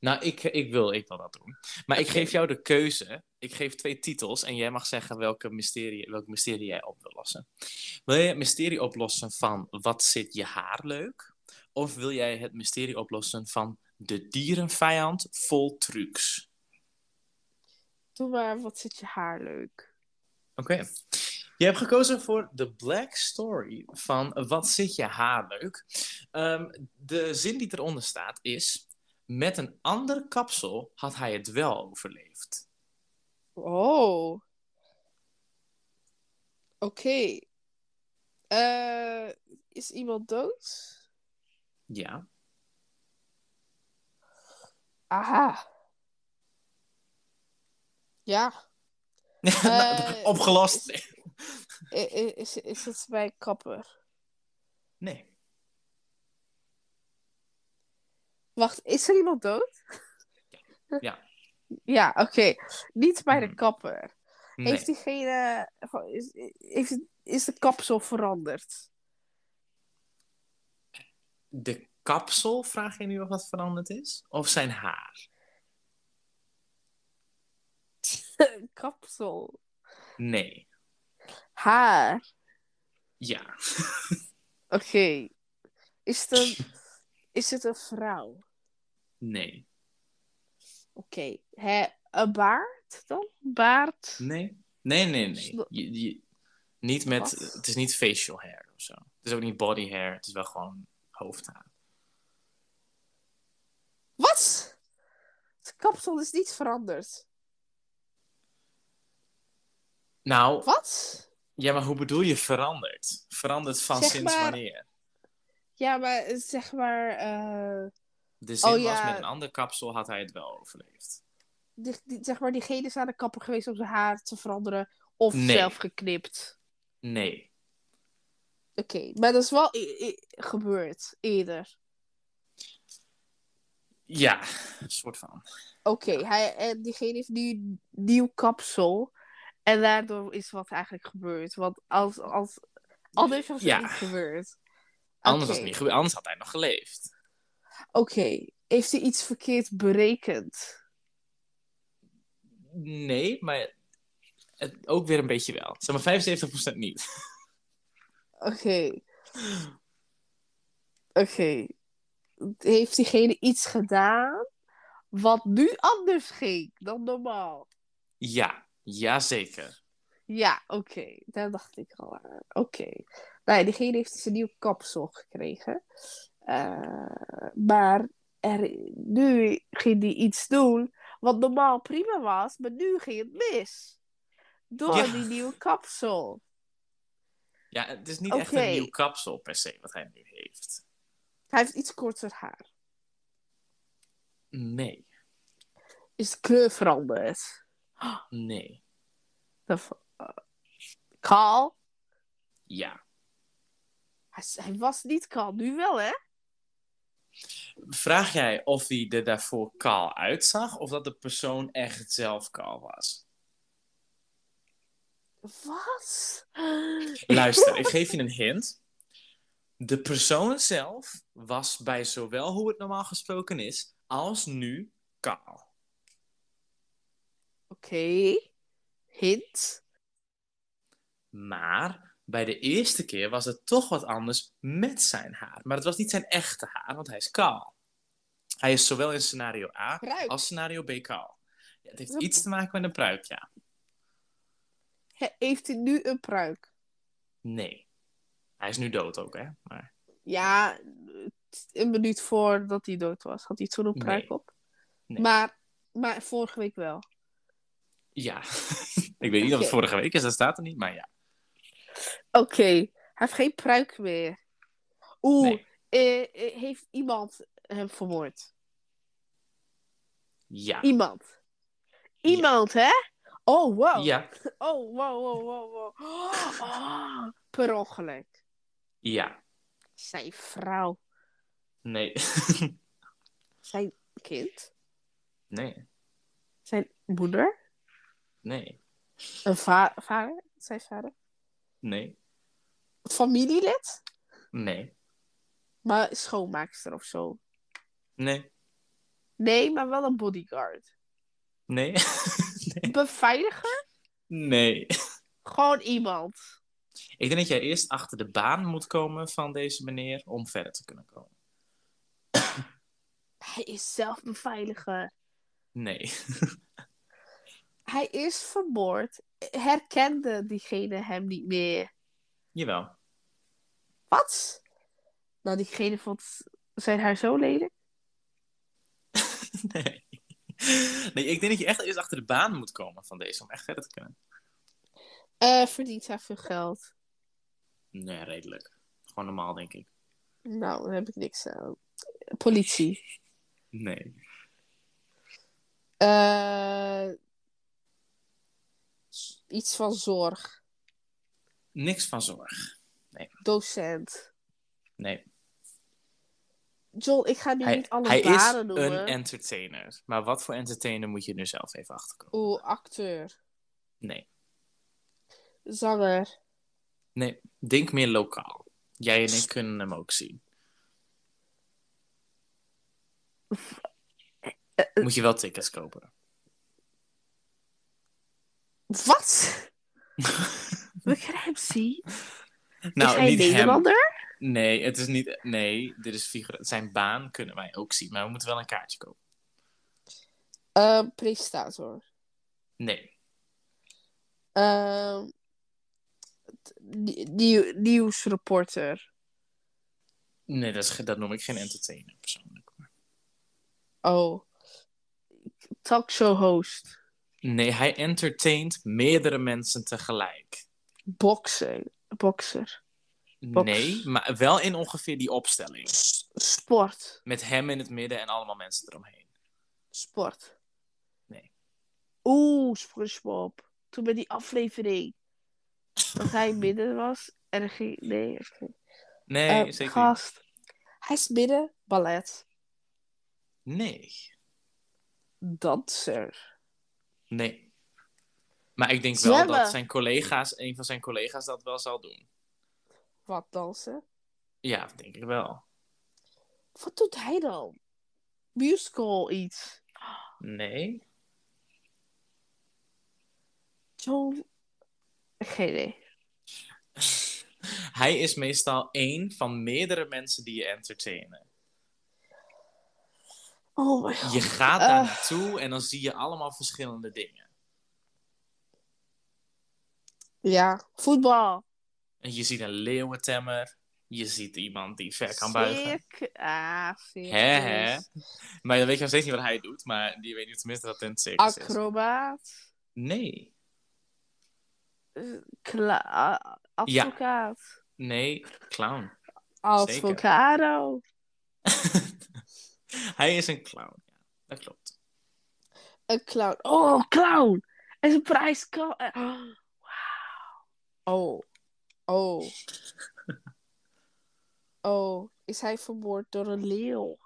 S1: Nou, ik, ik, wil, ik wil dat doen. Maar ik geef jou de keuze. Ik geef twee titels en jij mag zeggen welke mysterie, welk mysterie jij op wil lossen. Wil jij het mysterie oplossen van wat zit je haar leuk? Of wil jij het mysterie oplossen van de dierenvijand vol trucs?
S2: Doe maar, wat zit je haar leuk?
S1: Oké. Je hebt gekozen voor de Black Story van Wat zit je haar leuk? Ehm, de zin die eronder staat is: Met een ander kapsel had hij het wel overleefd.
S2: Oh. Oké. Eh, is iemand dood?
S1: Ja.
S2: Aha. Ja.
S1: Nou,
S2: Eh,
S1: Opgelost? Nee.
S2: I- i- Is, is het bij kapper?
S1: Nee.
S2: Wacht, is er iemand dood?
S1: Ja.
S2: Ja, oké. Niet bij de
S1: Mhm.
S2: kapper.
S1: Nee.
S2: Heeft diegene. Is, is, is de kapsel veranderd?
S1: De kapsel, vraag je nu of dat veranderd is? Of zijn haar?
S2: kapsel.
S1: Nee.
S2: Haar.
S1: Ja.
S2: Oké. Is, het een- is het een vrouw?
S1: Nee.
S2: Oké. hè Een baard dan? Baard?
S1: Nee? Nee, nee, nee.
S2: Slo-
S1: Je, je- niet met,
S2: Wat?
S1: het is niet facial hair of zo. Het is ook niet body hair. Het is wel gewoon hoofdhaar.
S2: Wat? Het kapsel is niet veranderd.
S1: Nou,
S2: Wat?
S1: ja, maar hoe bedoel je veranderd? Veranderd van
S2: Zeg
S1: sinds
S2: maar-
S1: wanneer?
S2: Ja, maar eh, zeg maar, eh,
S1: De zin
S2: Oh,
S1: was,
S2: ja.
S1: met een ander kapsel had hij het wel overleefd.
S2: die, die- zeg maar, diegene is naar de kapper geweest om zijn haar te veranderen of
S1: Nee.
S2: zelf geknipt.
S1: Nee.
S2: Oké, maar dat is wel e- e- gebeurd eerder.
S1: Ja, soort van.
S2: Oké, hij en diegene heeft nu een nieuw kapsel en daardoor is wat eigenlijk gebeurd. Want als, als, anders was het
S1: Ja.
S2: niet gebeurd.
S1: Anders
S2: Oké,
S1: was het niet gebeurd. Anders had hij nog geleefd.
S2: Oké, heeft hij iets verkeerd berekend?
S1: Nee, maar het, ook weer een beetje wel. Zeg maar 75% niet.
S2: Oké. Oké. Heeft diegene iets gedaan wat nu anders ging dan normaal?
S1: Ja, jazeker.
S2: Ja, oké. Daar dacht ik al aan. Oké. Nee, diegene heeft dus een nieuw kapsel gekregen. Eh, maar er, nu ging hij iets doen wat normaal prima was, maar nu ging het mis. Door
S1: Ja.
S2: die nieuwe kapsel.
S1: Ja, het is niet echt
S2: Oké.
S1: een nieuw kapsel per se wat hij nu heeft.
S2: Hij heeft iets korter haar.
S1: Nee,
S2: Is de kleur veranderd?
S1: nee,
S2: Dan van, eh, kaal?
S1: ja.
S2: Hij, is- hij was niet kaal, nu wel hè?
S1: Vraag jij of hij er daarvoor kaal uitzag of dat de persoon echt zelf kaal was?
S2: Wat?
S1: Luister, ik geef je een hint. De persoon zelf was bij zowel hoe het normaal gesproken is, als nu kaal.
S2: Oké. Hint.
S1: Maar bij de eerste keer was het toch wat anders met zijn haar. Maar het was niet zijn echte haar, want hij is kaal. Hij is zowel in scenario A
S2: Pruik.
S1: als scenario B kaal. Ja, het heeft
S2: Een-
S1: iets te maken met een pruik, ja.
S2: He- heeft hij nu een pruik?
S1: Nee. Hij is nu dood ook, hè? Maar
S2: Ja, t- een minuut voordat hij dood was, had hij toen een pruik op.
S1: Nee.
S2: Maar, maar vorige week wel.
S1: ja. Ik weet niet of
S2: Oké.
S1: het vorige week is, dat staat er niet, maar ja.
S2: Oké, hij heeft geen pruik meer. Oeh,
S1: Nee.
S2: eh, eh, heeft iemand hem vermoord?
S1: Ja.
S2: Iemand. Iemand, hè? Oh, wow.
S1: Ja.
S2: Oh, wow, wow, wow, wow. Oh, per ongeluk.
S1: Ja.
S2: Zijn vrouw.
S1: Nee.
S2: Zijn kind.
S1: nee.
S2: Zijn moeder.
S1: Nee.
S2: Een va- vader. Zijn vader.
S1: Nee.
S2: Familielid.
S1: Nee.
S2: Maar schoonmaakster of zo.
S1: Nee.
S2: Nee, maar wel een bodyguard.
S1: Nee.
S2: Beveiliger?
S1: nee.
S2: Gewoon iemand.
S1: Ik denk dat jij eerst achter de baan moet komen van deze meneer om verder te kunnen komen.
S2: Hij is zelf beveiliger.
S1: Nee.
S2: Hij is vermoord. Herkende diegene hem niet meer.
S1: Jawel.
S2: Wat? Nou, diegene vond zijn haar zo lelijk.
S1: Nee. Nee, ik denk dat je echt eerst achter de baan moet komen van deze om echt verder te kunnen.
S2: Eh, verdient hij veel geld?
S1: Nee, redelijk. Gewoon normaal, denk ik.
S2: Nou, daar heb ik niks aan. Politie.
S1: Nee.
S2: Eh, s- iets van zorg.
S1: Niks van zorg.
S2: Docent.
S1: Nee.
S2: John, ik ga nu
S1: Hij,
S2: niet alle
S1: hij is
S2: banen
S1: een
S2: noemen.
S1: entertainer. Maar wat voor entertainer moet je nu zelf even achterkomen?
S2: Oeh, acteur.
S1: Nee.
S2: Zanger.
S1: Nee. Denk meer lokaal. Jij en ik kunnen hem ook zien.
S2: Eh,
S1: Moet je wel tickets kopen.
S2: Wat? We kunnen hem zien. is
S1: Nou,
S2: hij
S1: niet hem.
S2: Nederlander?
S1: Nee, het is niet. Nee, dit is figura- Zijn baan kunnen wij ook zien, maar we moeten wel een kaartje kopen.
S2: Ehm, presentator.
S1: Nee,
S2: Ehm, t- nie- nieuw- nieuwsreporter.
S1: nee dat, is, ge- dat noem ik geen entertainer persoonlijk.
S2: Oh. Talkshow host.
S1: Nee, hij entertaint meerdere mensen tegelijk.
S2: Bokser. Bokser. Box.
S1: Nee, maar wel in ongeveer die opstelling.
S2: S- sport.
S1: Met hem in het midden en allemaal mensen eromheen.
S2: Sport.
S1: Nee.
S2: Oeh, SpongeBob. Toen bij die aflevering. Dat hij midden was. En er ging... Nee, oké.
S1: Nee,
S2: Eh,
S1: zeker niet.
S2: gast. Hij is midden. Ballet.
S1: Nee,
S2: Danser.
S1: nee. Maar ik denk wel
S2: Zwemmen.
S1: dat zijn collega's, een van zijn collega's dat wel zal doen.
S2: Wat dansen?
S1: Ja, dat denk ik wel.
S2: Wat doet hij dan? Musical iets.
S1: Nee,
S2: John. Geen idee.
S1: Hij is meestal één van meerdere mensen die je entertainen.
S2: Oh my god.
S1: Je gaat daar
S2: Eh.
S1: naartoe en dan zie je allemaal verschillende dingen.
S2: Ja, voetbal.
S1: En je ziet een leeuwentemmer. Je ziet iemand die ver kan buigen.
S2: Circus. Ah, circus.
S1: Hè, hè? Maar dan weet je nog steeds niet wat hij doet. Maar die weet nu tenminste dat het een circus is.
S2: Acrobaat.
S1: Nee.
S2: Eh, Kla- a-
S1: Ja.
S2: advocaat.
S1: Nee, clown.
S2: Avocado.
S1: hij is een clown. Ja, dat klopt.
S2: Een clown. Oh, clown. En zijn prijs kan. eh, oh, Wauw. Oh. Oh. Oh. Is hij vermoord door een leeuw?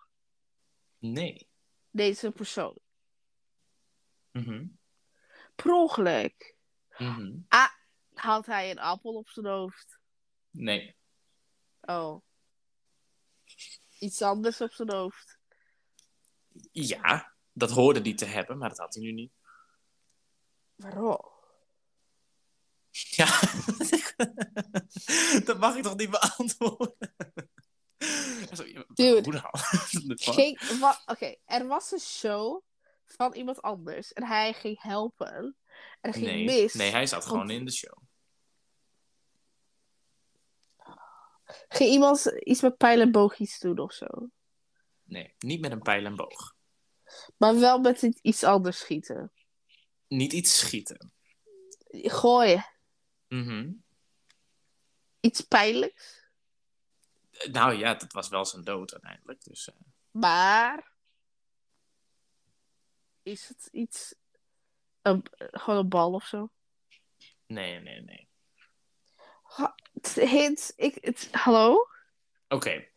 S1: Nee.
S2: Deze persoon.
S1: Mhm,
S2: Per ongeluk
S1: mhm.
S2: haalt hij een appel op zijn hoofd.
S1: Nee.
S2: Oh. Iets anders op zijn hoofd.
S1: Ja, dat hoorde hij te hebben, maar dat had hij nu niet.
S2: Waarom?
S1: Ja, dat mag ik toch niet beantwoorden? Zo, ja,
S2: Dude.
S1: Hoe nou? Wat?
S2: Ging, wa- Oké, er was een show van iemand anders en hij ging helpen. En dat ging
S1: nee,
S2: mis.
S1: nee, hij zat
S2: Want-
S1: gewoon in de show.
S2: Ging iemand iets met pijl en boogjes doen of zo?
S1: Nee, niet met een pijl en boog.
S2: Maar wel met i- iets anders schieten.
S1: Niet iets schieten.
S2: Gooien.
S1: Mhm.
S2: Iets pijnlijks.
S1: Nou ja, dat was wel zijn dood uiteindelijk. Dus, eh,
S2: Maar is het iets. Een, gewoon een bal of zo?
S1: nee, nee, nee.
S2: Het- Hint, ik. Het, hallo?
S1: Oké,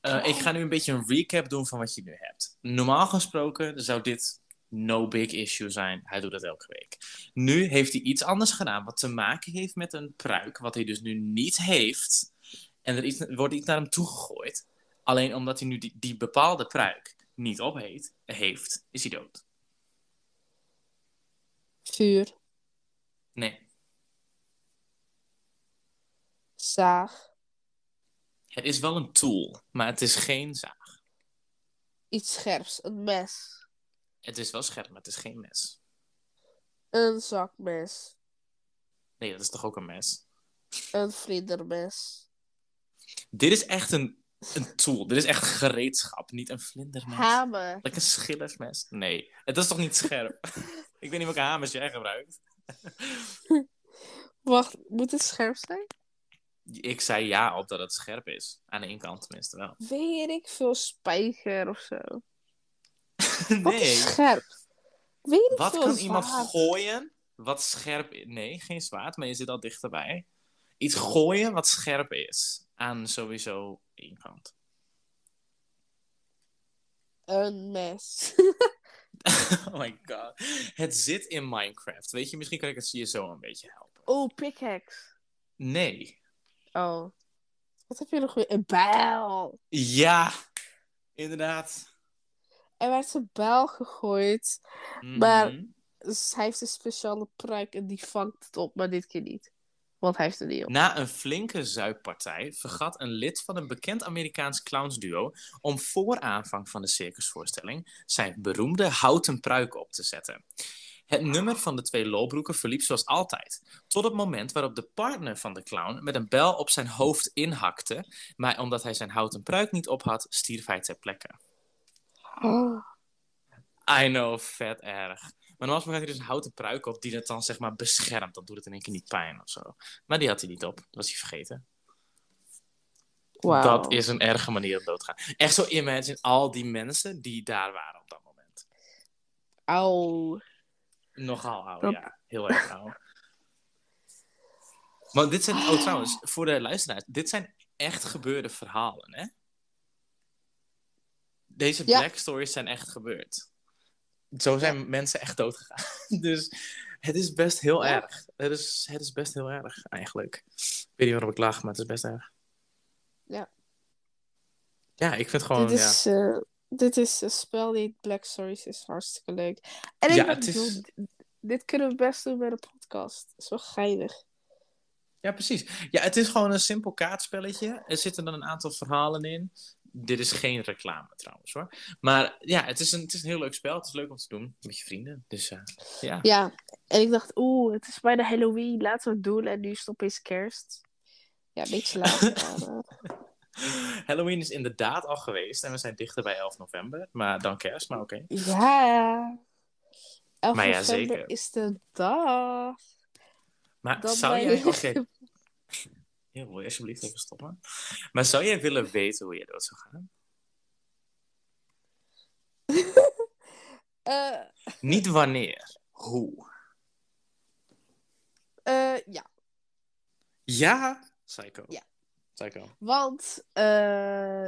S1: eh, ik ga nu een beetje een recap doen van wat je nu hebt. Normaal gesproken zou dit no big issue zijn. Hij doet dat elke week. Nu heeft hij iets anders gedaan, wat te maken heeft met een pruik, wat hij dus nu niet heeft. En er iets, wordt iets naar hem toegegooid. Alleen omdat hij nu die, die bepaalde pruik niet op heet- heeft, is hij dood.
S2: Vuur,
S1: Nee,
S2: zaag,
S1: het is wel een tool, maar het is geen zaag.
S2: iets scherps, een mes,
S1: Het is wel scherp, maar het is geen mes.
S2: een zakmes,
S1: Nee, dat is toch ook een mes?
S2: een vlindermes,
S1: Dit is echt een, een tool. Dit is echt gereedschap, niet een vlindermes.
S2: hamer.
S1: Lekker schillersmes? Nee, het is toch niet scherp? ik weet niet welke hamers jij gebruikt.
S2: Wacht, moet het scherp zijn?
S1: Ik zei ja op dat het scherp is. Aan de inkant tenminste wel.
S2: Weet ik veel, spijker of zo. Wat
S1: nee,
S2: is scherp? Weet ik
S1: wat
S2: veel,
S1: kan iemand
S2: zwaard.
S1: gooien wat scherp is? Nee, geen zwaard, maar je zit al dichterbij. Iets gooien wat scherp is. Aan sowieso één kant.
S2: Een mes.
S1: oh my god. Het zit in Minecraft. Weet je, misschien kan ik het je zo een beetje helpen.
S2: oh, pickaxe.
S1: Nee.
S2: Oh. Wat heb je nog weer? Een bijl.
S1: Ja, inderdaad.
S2: Er werd een bijl gegooid.
S1: Mhm.
S2: Maar- Dus hij heeft een speciale pruik en die vangt het op, maar dit keer niet. Want hij heeft er niet op.
S1: Na een flinke zuippartij vergat een lid van een bekend Amerikaans clownsduo om voor aanvang van de circusvoorstelling zijn beroemde houten pruik op te zetten. Het nummer van de twee lolbroeken verliep zoals altijd, tot het moment waarop de partner van de clown met een bel op zijn hoofd inhakte, maar omdat hij zijn houten pruik niet op had, stierf hij ter plekke.
S2: Oh.
S1: I know, vet erg. Maar normaal gesproken had hij dus een houten pruik op die dat dan zeg maar beschermt, dan doet het in één keer niet pijn of zo. Maar die had hij niet op, dat was hij vergeten.
S2: Wauw.
S1: Dat is een erge manier om dood te gaan. Echt zo imagine al die mensen die daar waren op dat moment.
S2: Auw.
S1: Nogal oud,
S2: Dat-
S1: ja. Heel erg oud. Want dit zijn, oh trouwens, voor de luisteraars, dit zijn echt gebeurde verhalen, hè? Deze
S2: Ja.
S1: black stories zijn echt gebeurd. Zo zijn mensen echt dood gegaan. Dus het is best heel
S2: Ja.
S1: erg. Het is, het is best heel erg, eigenlijk. Ik weet niet waarom ik lach, maar het is best erg.
S2: Ja.
S1: Ja, ik vind gewoon,
S2: dit,
S1: Oh, ja.
S2: is, eh, dit is een spel die Black Stories is hartstikke leuk. En ik
S1: Ja,
S2: ben-
S1: het is-
S2: bedoel, dit- dit kunnen we best doen bij de podcast. Dat is wel geinig.
S1: Ja, precies. Ja, het is gewoon een simpel kaartspelletje. Er zitten dan een aantal verhalen in. Dit is geen reclame trouwens hoor. Maar ja, het is een, het is een heel leuk spel. Het is leuk om te doen met je vrienden. Dus eh, ja.
S2: Ja, en ik dacht, oeh, het is bijna Halloween, laten we het doen. En nu is het opeens kerst. Ja, een beetje laat. maar, eh,
S1: Halloween is inderdaad al geweest. En we zijn dichter bij 11 november. Maar dan kerst, maar oké.
S2: Ja. 11
S1: Maar ja,
S2: november
S1: zeker.
S2: is de dag.
S1: Maar
S2: Dan
S1: zou
S2: ben
S1: jij...
S2: je-
S1: Oké, heel mooi. Alsjeblieft even stoppen. Maar zou jij willen weten hoe je dood zou gaan?
S2: Eh,
S1: Niet wanneer. Hoe?
S2: eh, ja,
S1: Ja? Psycho.
S2: Ja.
S1: Psycho.
S2: want eh,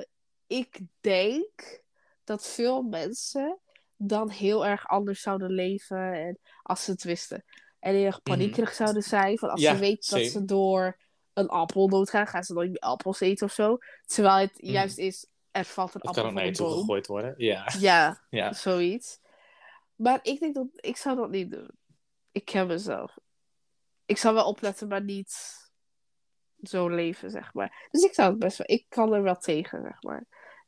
S2: ik denk dat veel mensen dan heel erg anders zouden leven en als ze het wisten. En heel erg paniekerig zouden zijn. Van als
S1: Mhm. Ja,
S2: ze weten dat
S1: same.
S2: ze door een appel doodgaan, gaan ze nooit meer appels eten of zo. Terwijl het
S1: Mhm.
S2: juist is, er valt een
S1: Dat
S2: appel
S1: kan ook
S2: van
S1: naar je
S2: een
S1: toe
S2: boom.
S1: gegooid worden. Ja.
S2: Ja,
S1: Ja.
S2: zoiets. Maar ik denk dat ik zou dat niet doen. Ik ken mezelf. Ik zou wel opletten, maar niet zo leven, zeg maar. Dus ik zou het best wel. Ik kan er wel tegen, zeg maar.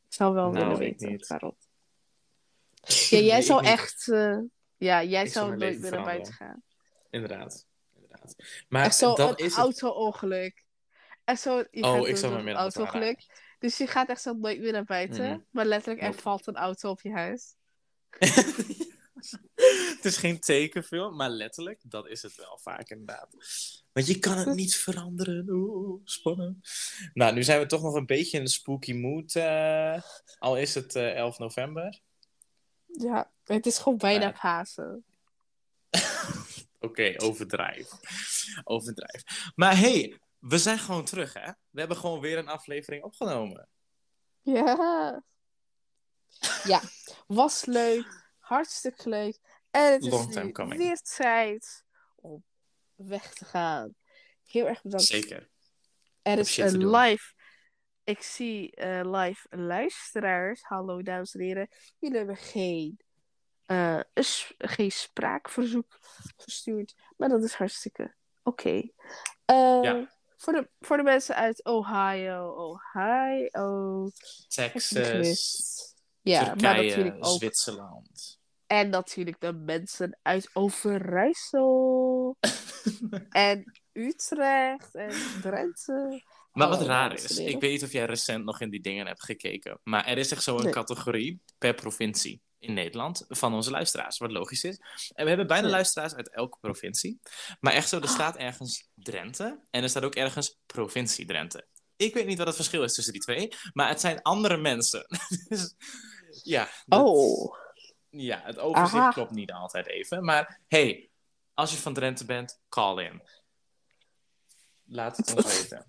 S2: Ik zou wel
S1: Nou,
S2: willen
S1: ik
S2: weten
S1: niet.
S2: waarom. Ja, jij
S1: Nee,
S2: zou
S1: ik niet.
S2: echt. eh, ja, jij
S1: Ik zou
S2: zou
S1: mijn
S2: nooit
S1: leven
S2: meer naar buiten
S1: veranderen.
S2: gaan.
S1: Inderdaad. inderdaad. Maar
S2: Echt zo
S1: dan
S2: een
S1: is het...
S2: auto-ongeluk. En zo, je
S1: Oh,
S2: gaat
S1: ik
S2: door
S1: zou
S2: een
S1: mijn middag moeten
S2: auto-ongeluk. Dus je gaat echt zo nooit meer naar buiten.
S1: Mhm.
S2: Maar letterlijk, er
S1: Nope.
S2: valt een auto op je huis.
S1: Het is geen tekenfilm, maar letterlijk, dat is het wel vaak inderdaad. Want je
S2: Hm.
S1: kan het niet veranderen. Oeh, spannend. Nou, nu zijn we toch nog een beetje in de spooky mood. eh, al is het eh, 11 november.
S2: Ja, het is gewoon bijna
S1: Ja.
S2: Pasen.
S1: Oké, overdrijf. Overdrijf. Maar hey, we zijn gewoon terug, hè? We hebben gewoon weer een aflevering opgenomen.
S2: Ja. Ja, was leuk. Hartstikke leuk. En het is
S1: Long time
S2: nu
S1: coming.
S2: weer tijd om weg te gaan. Heel erg bedankt.
S1: Zeker.
S2: Er
S1: heb
S2: is
S1: shit te
S2: een
S1: doen.
S2: live. Ik zie eh, live luisteraars. Hallo dames en heren. Jullie hebben geen, eh, een s- geen spraakverzoek gestuurd. Maar dat is hartstikke oké. Eh,
S1: Ja.
S2: voor, de, voor de mensen uit Ohio. Ohio.
S1: Texas,
S2: Ja, maar
S1: Turkije,
S2: natuurlijk ook.
S1: Zwitserland.
S2: En natuurlijk de mensen uit Overijssel. en Utrecht. En Drenthe.
S1: Maar wat
S2: Oh,
S1: raar
S2: dames en
S1: is,
S2: heren.
S1: ik weet niet of jij recent nog in die dingen hebt gekeken, maar er is echt zo'n
S2: Nee.
S1: categorie per provincie in Nederland van onze luisteraars, wat logisch is. En we hebben bijna
S2: Ja. Ah.
S1: luisteraars uit elke provincie, maar echt zo, er staat ergens Drenthe en er staat ook ergens provincie Drenthe. Ik weet niet wat het verschil is tussen die twee, maar het zijn andere mensen. dus, ja, dat-
S2: Oh.
S1: ja, het overzicht
S2: Aha.
S1: klopt niet altijd even. Maar hey, als je van Drenthe bent, call in. Laat het ons weten.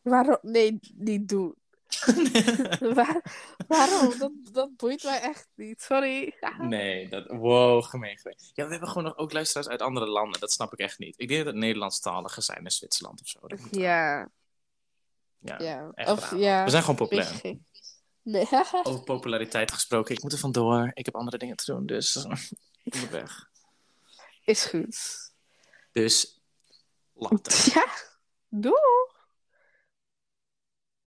S2: Waarom? Nee, niet doen. Waar- waarom? Dat, dat boeit mij echt niet. Sorry.
S1: Nee, dat... Wow, gemeen geweest. Ja, we hebben gewoon nog ook luisteraars uit andere landen. Dat snap ik echt niet. Ik denk dat het Nederlandstaligen zijn in Zwitserland of zo. Dat moet-
S2: Ja,
S1: ja,
S2: ja.
S1: echt
S2: Of
S1: raar.
S2: ja.
S1: We zijn gewoon
S2: weet
S1: populair.
S2: je geen- Nee.
S1: Over populariteit gesproken. Ik moet er vandoor. Ik heb andere dingen te doen, dus ik moet weg.
S2: Is goed.
S1: Dus, later.
S2: Ja. Doei.